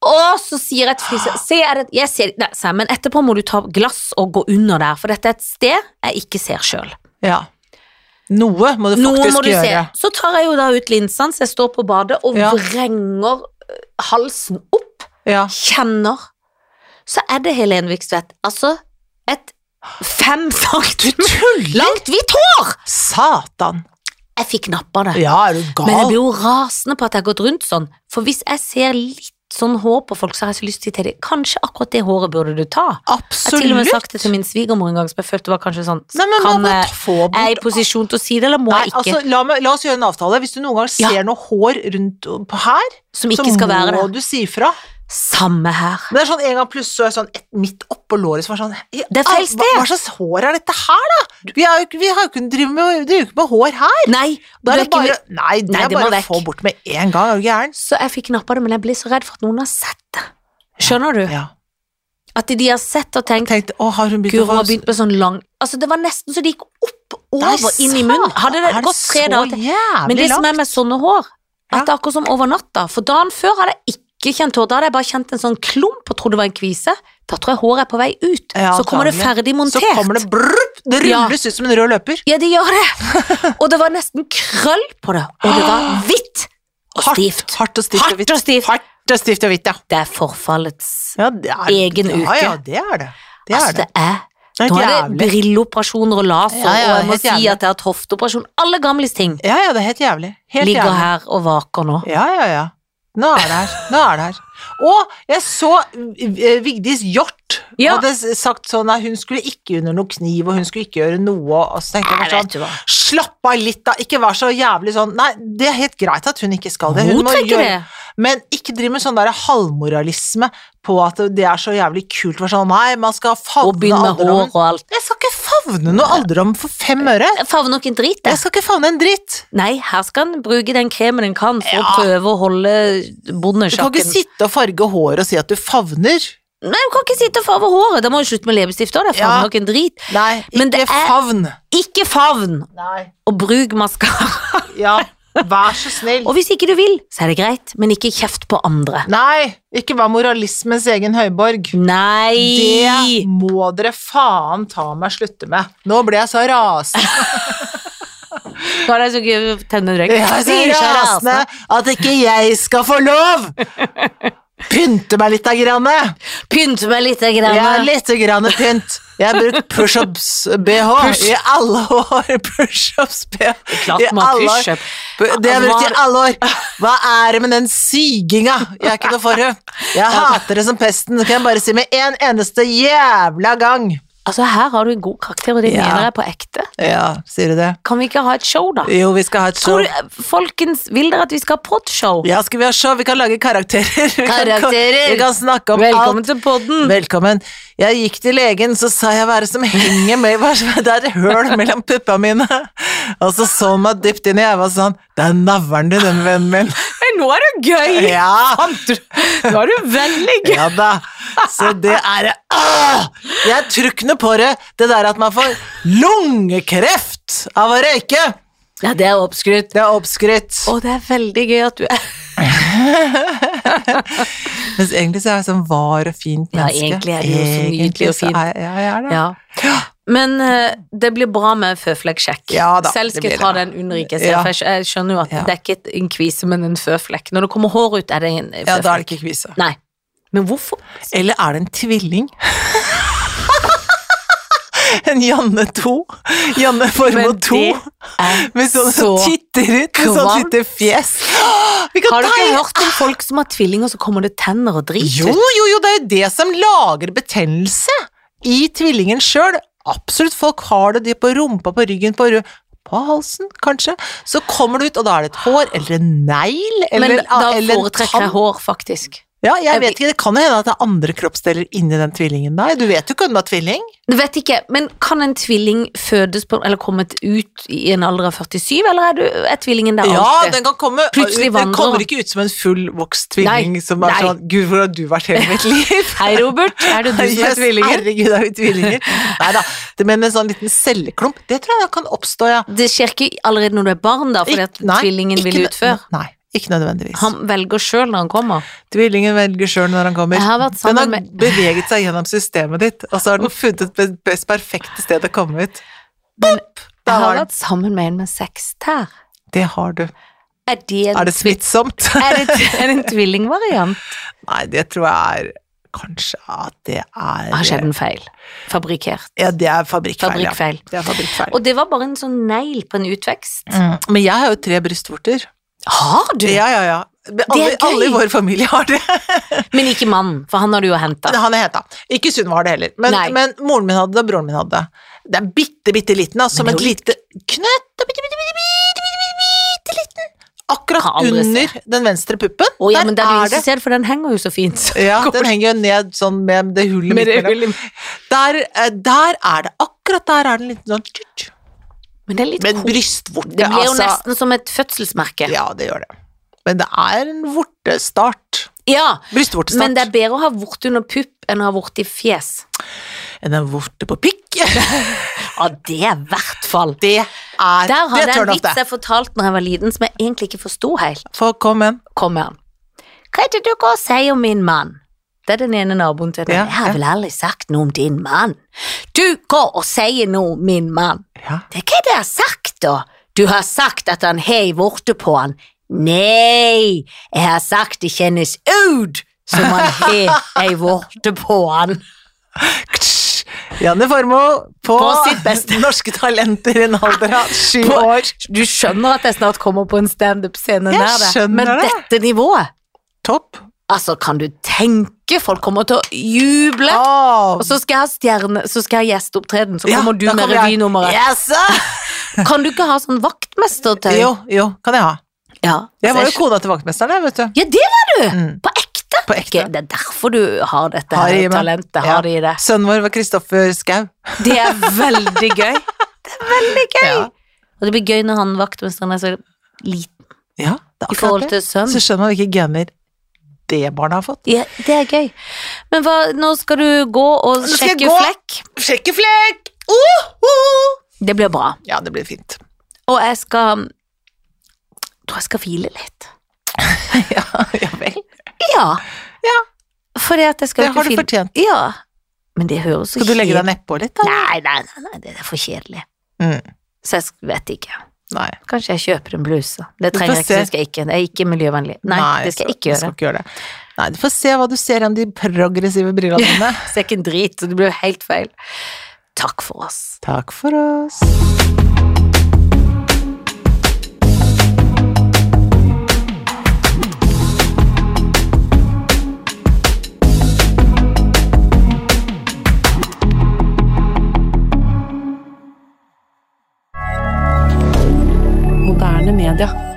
Speaker 1: Og så sier jeg til Felicia, se, er det, jeg ser, nei, sa jeg, men etterpå må du ta glass og gå under der, for dette er et sted jeg ikke ser selv.
Speaker 2: Ja. Noe må du
Speaker 1: Noe
Speaker 2: faktisk
Speaker 1: må du se.
Speaker 2: gjøre.
Speaker 1: Så tar jeg jo da ut linsene, så jeg står på badet og
Speaker 2: Ja.
Speaker 1: vrenger eh, halsen opp,
Speaker 2: Ja.
Speaker 1: kjenner, så er det Helene Vikstvedt. Altså et fem centimeter
Speaker 2: Tuller!
Speaker 1: langt hvitt hår!
Speaker 2: Satan!
Speaker 1: Jeg fikk nappa det.
Speaker 2: Ja, er du gal?
Speaker 1: Men jeg blir jo rasende på at jeg har gått rundt sånn. For hvis jeg ser litt sånn hår på folk, så har jeg så lyst til å si til dem kanskje akkurat det håret burde du ta. Jeg har til og med
Speaker 2: Absolutt!
Speaker 1: sagt det til min svigermor en gang, som jeg følte var kanskje sånn
Speaker 2: Nei, men
Speaker 1: Kan
Speaker 2: man må
Speaker 1: jeg-
Speaker 2: ta- få
Speaker 1: Er jeg
Speaker 2: bort
Speaker 1: i posisjon til å si det, eller må
Speaker 2: Nei,
Speaker 1: jeg ikke?
Speaker 2: altså, la, meg, la oss gjøre en avtale. Hvis du noen gang
Speaker 1: Ja.
Speaker 2: ser noe hår rundt på her,
Speaker 1: som ikke
Speaker 2: så
Speaker 1: skal være
Speaker 2: må
Speaker 1: det.
Speaker 2: du si ifra.
Speaker 1: Samme her.
Speaker 2: Men det er sånn en gang pluss så er jeg sånn et, midt oppå låret som var sånn i
Speaker 1: Det er
Speaker 2: all-
Speaker 1: feil
Speaker 2: hva,
Speaker 1: sted.
Speaker 2: hva slags hår er dette her, da? Vi har jo ikke- vi har jo ikke driver med, driver jo ikke med hår her.
Speaker 1: Nei,
Speaker 2: Da er
Speaker 1: du er
Speaker 2: det
Speaker 1: ikke
Speaker 2: bare Nei, det
Speaker 1: Nei,
Speaker 2: er
Speaker 1: det må
Speaker 2: bare å
Speaker 1: vekk.
Speaker 2: få bort med en gang. Er du gæren?
Speaker 1: Så jeg fikk nappa det, men jeg ble så redd for at noen har sett det. Skjønner du?
Speaker 2: Ja.
Speaker 1: At de har sett og tenkt
Speaker 2: Tenkte, å, har hun begynt
Speaker 1: Guro
Speaker 2: å
Speaker 1: har
Speaker 2: få
Speaker 1: begynt med sånn lang Altså, det var nesten så det gikk opp
Speaker 2: Nei,
Speaker 1: over inn i munnen. Hadde det
Speaker 2: satan, er
Speaker 1: gått tre dager til.
Speaker 2: så jævlig
Speaker 1: Men det som er
Speaker 2: langt?
Speaker 1: med sånne hår,
Speaker 2: Ja.
Speaker 1: at det er akkurat som over natta. For dagen før hadde jeg ikke kjent hår. Da hadde jeg bare kjent en sånn klump og trodde det var en kvise. Da tror jeg håret er på vei ut.
Speaker 2: Ja,
Speaker 1: så kommer det
Speaker 2: antagelig.
Speaker 1: ferdig
Speaker 2: Så
Speaker 1: montert.
Speaker 2: kommer det brrr, det
Speaker 1: Ja.
Speaker 2: rulles ut som en rød løper.
Speaker 1: Ja, det gjør det. Og det var nesten krøll på det. Og det var hvitt og stivt.
Speaker 2: Ah. hardt og stivt og
Speaker 1: Hardt
Speaker 2: hvitt.
Speaker 1: og stivt.
Speaker 2: Hardt og stivt og hvitt, ja.
Speaker 1: Det er forfallets
Speaker 2: ja det er,
Speaker 1: Egen
Speaker 2: Ja,
Speaker 1: uke.
Speaker 2: ja, det er det. Det er
Speaker 1: Altså,
Speaker 2: det.
Speaker 1: det er
Speaker 2: Det er
Speaker 1: Nå er det
Speaker 2: jævlig.
Speaker 1: brilleoperasjoner og laser,
Speaker 2: Ja, ja,
Speaker 1: og jeg må
Speaker 2: helt
Speaker 1: si
Speaker 2: jævlig.
Speaker 1: at jeg har hatt hofteoperasjon. Alle gamles ting
Speaker 2: Ja, ja, det er helt jævlig. Helt
Speaker 1: ligger
Speaker 2: jævlig.
Speaker 1: her og vaker nå.
Speaker 2: Ja, ja, ja. Nå er det her. Nå er det her. Og jeg så eh, Vigdis Hjort
Speaker 1: Ja.
Speaker 2: hadde s- sagt sånn at hun skulle ikke under noe kniv, og hun skulle ikke gjøre noe, og så tenkte jeg
Speaker 1: Jeg
Speaker 2: bare sånn
Speaker 1: vet du hva.
Speaker 2: Slapp av litt, da. Ikke vær så jævlig sånn. Nei, det er helt greit at hun ikke skal det.
Speaker 1: Hun tenker det.
Speaker 2: Men ikke driv med sånn der halvmoralisme på at det er så jævlig kult. Være sånn nei, man skal
Speaker 1: Og
Speaker 2: favne
Speaker 1: begynne med hår
Speaker 2: alderdom.
Speaker 1: og alt.
Speaker 2: Jeg skal ikke favne noe alderdom for fem øre.
Speaker 1: Jeg favner nok en drit,
Speaker 2: Jeg
Speaker 1: jeg.
Speaker 2: skal ikke favne en dritt.
Speaker 1: Nei, her skal en bruke den kremen en kan for
Speaker 2: Ja.
Speaker 1: å prøve å holde
Speaker 2: Du kan ikke
Speaker 1: bondesjakken.
Speaker 2: sitte og farge håret og si at du favner.
Speaker 1: Nei, du kan ikke sitte og farve håret. Da må du slutte med leppestift òg. Det er
Speaker 2: Ja.
Speaker 1: favn nok en drit.
Speaker 2: Nei,
Speaker 1: Men
Speaker 2: ikke
Speaker 1: det er-
Speaker 2: favn.
Speaker 1: Ikke favn,
Speaker 2: Nei.
Speaker 1: og bruk maskara.
Speaker 2: Ja, vær så snill.
Speaker 1: Og hvis ikke du vil, så er det greit, men ikke kjeft på andre.
Speaker 2: Nei, ikke vær moralismens egen høyborg. Det
Speaker 1: Nei!
Speaker 2: må dere faen ta meg slutte med. Nå ble jeg så rasende.
Speaker 1: Nå er det så gøy å tenne røyk.
Speaker 2: Jeg er så
Speaker 1: Sier så
Speaker 2: rasende
Speaker 1: rasende.
Speaker 2: at ikke jeg skal få lov! Pynte meg litt, da, granne.
Speaker 1: Pynt meg litt.
Speaker 2: Jeg er
Speaker 1: Grann.
Speaker 2: litt grann pynt. Jeg har brukt pushups-bh
Speaker 1: Push.
Speaker 2: i alle år. Pushups-bh
Speaker 1: Klart man har pushup.
Speaker 2: Det har jeg brukt i
Speaker 1: Hva-
Speaker 2: alle år. Hva er det med den syginga? Jeg er ikke noe for det. Jeg hater det som pesten. Det kan jeg bare si med en eneste jævla gang.
Speaker 1: Altså, her har du en god karakter, og det
Speaker 2: Ja.
Speaker 1: mener jeg på ekte.
Speaker 2: Ja, sier du det?
Speaker 1: Kan vi ikke ha et show, da?
Speaker 2: Jo, vi skal ha et
Speaker 1: Tror
Speaker 2: show.
Speaker 1: du, folkens, vil dere at vi skal ha podshow?
Speaker 2: Ja, skal vi ha show? Vi kan lage karakterer. Vi kan-
Speaker 1: Karakterer.
Speaker 2: Vi kan snakke om
Speaker 1: Velkommen
Speaker 2: alt.
Speaker 1: til podden!
Speaker 2: Velkommen. Jeg gikk til legen, så sa jeg hva er det som henger med hva er det- Det er et høl mellom puppa mine. Og så så han meg dypt inn i øyet og sa han, det er navlen din, den vennen min.
Speaker 1: Nei, nå er du gøy!
Speaker 2: Ja,
Speaker 1: Nå er du veldig gøy!
Speaker 2: ja da. Så det er det. Åh! Jeg tror ikke noe på det. Det der at man får lungekreft av å røyke.
Speaker 1: Ja, det er oppskrytt.
Speaker 2: Det er oppskrytt.
Speaker 1: Å, det er veldig gøy at du er
Speaker 2: Mens egentlig så er jeg sånn var og fint
Speaker 1: Ja,
Speaker 2: menneske.
Speaker 1: egentlig er du jo så
Speaker 2: Egentlig
Speaker 1: nydelig og
Speaker 2: så
Speaker 1: fin.
Speaker 2: er- Ja, jeg er det.
Speaker 1: Ja. Men eh, det blir bra med føflekksjekk.
Speaker 2: Ja da,
Speaker 1: Selv
Speaker 2: det
Speaker 1: skal
Speaker 2: blir
Speaker 1: jeg ta
Speaker 2: det.
Speaker 1: den under ikke jeg ser,
Speaker 2: Ja.
Speaker 1: for jeg skj- jeg skjønner jo at
Speaker 2: Ja.
Speaker 1: det er ikke et- en kvise, men en føflekk. Når det kommer hår ut, er det en
Speaker 2: Ja, da er
Speaker 1: føflekk.
Speaker 2: det ikke kvise.
Speaker 1: Nei. Men hvorfor?
Speaker 2: Eller er det en tvilling? en Janne 2. Janne Formoe
Speaker 1: Men
Speaker 2: 2.
Speaker 1: det er
Speaker 2: Med sånn
Speaker 1: så
Speaker 2: titter ut, med sånn
Speaker 1: kvalmt.
Speaker 2: lite fjes. Åh, Vi kan
Speaker 1: Har du ikke
Speaker 2: tegne-
Speaker 1: hørt om folk som har tvillinger, så kommer det tenner og drit
Speaker 2: Jo,
Speaker 1: ut?
Speaker 2: jo, jo, det er jo det som lager betennelse i tvillingen sjøl. Absolutt, folk har det de på rumpa, på ryggen, på, ru- på halsen, kanskje. Så kommer du ut, og da er det et hår, eller en negl, eller,
Speaker 1: Men da
Speaker 2: eller en
Speaker 1: foretrekker
Speaker 2: tann.
Speaker 1: jeg hår, faktisk.
Speaker 2: Ja, jeg vet ikke, det kan jo hende at det er andre kroppsdeler inni den tvillingen der. Du vet jo ikke om du er tvilling.
Speaker 1: Du vet ikke, men kan en tvilling fødes på, eller kommet ut i en alder av 47, eller er, du, er tvillingen der
Speaker 2: Ja,
Speaker 1: alltid?
Speaker 2: den kan komme
Speaker 1: Plutselig
Speaker 2: Den
Speaker 1: vandrer
Speaker 2: kommer
Speaker 1: den.
Speaker 2: ikke ut som en fullvokst tvilling
Speaker 1: Nei,
Speaker 2: som er
Speaker 1: nei.
Speaker 2: sånn Gud, hvor har du vært hele mitt liv?
Speaker 1: Hei, Robert, er det du som er
Speaker 2: Yes,
Speaker 1: tvillingen?
Speaker 2: Herregud, er vi tvillinger? Nei da. Men en sånn liten celleklump, det tror jeg da kan oppstå, ja.
Speaker 1: Det skjer ikke allerede når du er barn, da, fordi at
Speaker 2: Ikk- nei,
Speaker 1: tvillingen
Speaker 2: ikke
Speaker 1: vil
Speaker 2: nø-
Speaker 1: ut før.
Speaker 2: Nei, ikke nødvendigvis.
Speaker 1: Han velger sjøl når han kommer.
Speaker 2: Tvillingen velger sjøl når han kommer.
Speaker 1: Jeg har vært
Speaker 2: Den
Speaker 1: sammen
Speaker 2: har
Speaker 1: med
Speaker 2: beveget seg gjennom systemet ditt, og så har den funnet et be- best perfekte sted å komme ut. Bopp!
Speaker 1: jeg
Speaker 2: Der
Speaker 1: har
Speaker 2: var den.
Speaker 1: vært sammen med en med seks tær.
Speaker 2: Det har du.
Speaker 1: Er det en,
Speaker 2: Er det smittsomt?
Speaker 1: er det, er det en tvillingvariant?
Speaker 2: Nei, det tror jeg er Kanskje at det
Speaker 1: Har skjedd
Speaker 2: er
Speaker 1: en feil. Fabrikkert.
Speaker 2: Ja, det er fabrikkfeil. Ja.
Speaker 1: Fabrikkfeil.
Speaker 2: Det er fabrikkfeil.
Speaker 1: Og det var bare en sånn negl på en utvekst.
Speaker 2: Mm. Men jeg har jo tre brystvorter.
Speaker 1: Har du?
Speaker 2: Ja, ja, ja. Men
Speaker 1: Det er
Speaker 2: Alle,
Speaker 1: gøy.
Speaker 2: alle i vår familie har det.
Speaker 1: Men ikke mannen, for han har du jo henta.
Speaker 2: Han er heta. Ikke Sunn var det heller. Men,
Speaker 1: Nei.
Speaker 2: men moren min hadde det, og broren min hadde det. Det er bitte, bitte liten, altså. Som
Speaker 1: Men
Speaker 2: et
Speaker 1: det er jo
Speaker 2: lite knøtt. Bitte, bitte, bitte, bitte, bitte, bitte, bitte liten. Akkurat
Speaker 1: Kan aldri
Speaker 2: under den venstre puppen.
Speaker 1: Å ja,
Speaker 2: Der
Speaker 1: men det er du
Speaker 2: er
Speaker 1: ikke
Speaker 2: det.
Speaker 1: som ser, for den henger jo så fint.
Speaker 2: Ja, den henger jo ned sånn med det hullet midt mellom. Der, eh, der er det. Akkurat der er den liten sånn tjut, tjut.
Speaker 1: Men det er litt
Speaker 2: Men
Speaker 1: kort.
Speaker 2: brystvorte,
Speaker 1: Det blir jo
Speaker 2: altså.
Speaker 1: nesten som et fødselsmerke. Ja,
Speaker 2: Ja, det gjør det. Men det er en vortestart. Brystvortestart.
Speaker 1: men det er bedre å ha vorte under pupp enn å ha vorte i fjes.
Speaker 2: enn en vorte på pikk.
Speaker 1: Ja, det er i hvert fall.
Speaker 2: Det er
Speaker 1: Der
Speaker 2: det
Speaker 1: hadde jeg
Speaker 2: turn
Speaker 1: en
Speaker 2: off,
Speaker 1: vits
Speaker 2: det.
Speaker 1: jeg fortalte når jeg var liten, som jeg egentlig ikke forsto helt.
Speaker 2: Få komme en.
Speaker 1: Kommer han. Hva er det du går og sier om min mann? Det er den ene naboen til den.
Speaker 2: Ja,
Speaker 1: jeg har
Speaker 2: ja.
Speaker 1: vel aldri sagt noe om din mann. Du går og sier noe om min mann.
Speaker 2: Ja.
Speaker 1: Det er hva det jeg har sagt, da? Du har sagt at han har ei vorte på han. Nei, jeg har sagt det kjennes ut som han har ei vorte på han.
Speaker 2: Ktsj. Janne Formoe på,
Speaker 1: På sitt beste.
Speaker 2: Norske Talenter i en alder av sju
Speaker 1: På-
Speaker 2: år.
Speaker 1: Du skjønner at jeg snart kommer på en standup-scene
Speaker 2: Jeg
Speaker 1: nær det,
Speaker 2: skjønner
Speaker 1: men
Speaker 2: det.
Speaker 1: dette nivået
Speaker 2: Topp.
Speaker 1: Altså, kan du tenke? Folk kommer til å juble.
Speaker 2: Åh.
Speaker 1: Og så skal jeg ha stjerne, så skal jeg ha gjesteopptreden, så
Speaker 2: Ah. Ja,
Speaker 1: kommer du
Speaker 2: da
Speaker 1: med
Speaker 2: kommer jeg.
Speaker 1: revynummeret.
Speaker 2: Yes, sir.
Speaker 1: Kan du ikke ha sånn vaktmestertøy?
Speaker 2: Jo, jo, kan jeg ha.
Speaker 1: Ja,
Speaker 2: Jeg var jo
Speaker 1: Så
Speaker 2: kona til vaktmesteren, jeg, vet du.
Speaker 1: Ja, det var du!
Speaker 2: Mm.
Speaker 1: På ekte.
Speaker 2: På ekte.
Speaker 1: Ok, Det er derfor du har dette
Speaker 2: Har i
Speaker 1: her
Speaker 2: meg.
Speaker 1: talentet.
Speaker 2: Ja.
Speaker 1: Har det i det.
Speaker 2: Sønnen vår var Kristoffer Skau.
Speaker 1: Det er veldig gøy.
Speaker 2: Veldig gøy! Ja,
Speaker 1: Og det blir gøy når han vaktmesteren er så liten
Speaker 2: ja det er
Speaker 1: i forhold
Speaker 2: akkurat det.
Speaker 1: til sønn.
Speaker 2: Så skjønner man hvilke gener det barnet har fått.
Speaker 1: Ja, det er gøy. Men hva, nå skal du gå og
Speaker 2: Nå skal jeg
Speaker 1: sjekke
Speaker 2: gå.
Speaker 1: flekk.
Speaker 2: Sjekkeflekk! Uhu!
Speaker 1: Det blir bra.
Speaker 2: Ja, det blir fint.
Speaker 1: Og jeg skal Tror jeg skal hvile litt.
Speaker 2: ja, ja vel.
Speaker 1: Ja.
Speaker 2: Ja.
Speaker 1: Fordi at jeg skal
Speaker 2: Det
Speaker 1: jo ikke
Speaker 2: har du
Speaker 1: fil-
Speaker 2: fortjent.
Speaker 1: Ja. Men det høres
Speaker 2: Skal du legge deg nedpå litt, da?
Speaker 1: Nei, nei, nei, nei, det er for kjedelig.
Speaker 2: Mm.
Speaker 1: Så jeg sk- vet ikke.
Speaker 2: Nei.
Speaker 1: Kanskje jeg kjøper en bluse. Det
Speaker 2: Du får
Speaker 1: trenger jeg ikke,
Speaker 2: se.
Speaker 1: det skal jeg ikke. Det er ikke miljøvennlig. Nei, det skal jeg ikke gjøre.
Speaker 2: Du skal ikke gjøre det. Nei, du får se hva du ser gjennom de progressive brillene dine.
Speaker 1: Det er ikke en drit, så det blir jo helt feil. Takk for oss.
Speaker 2: Takk for oss.
Speaker 3: Moderne media.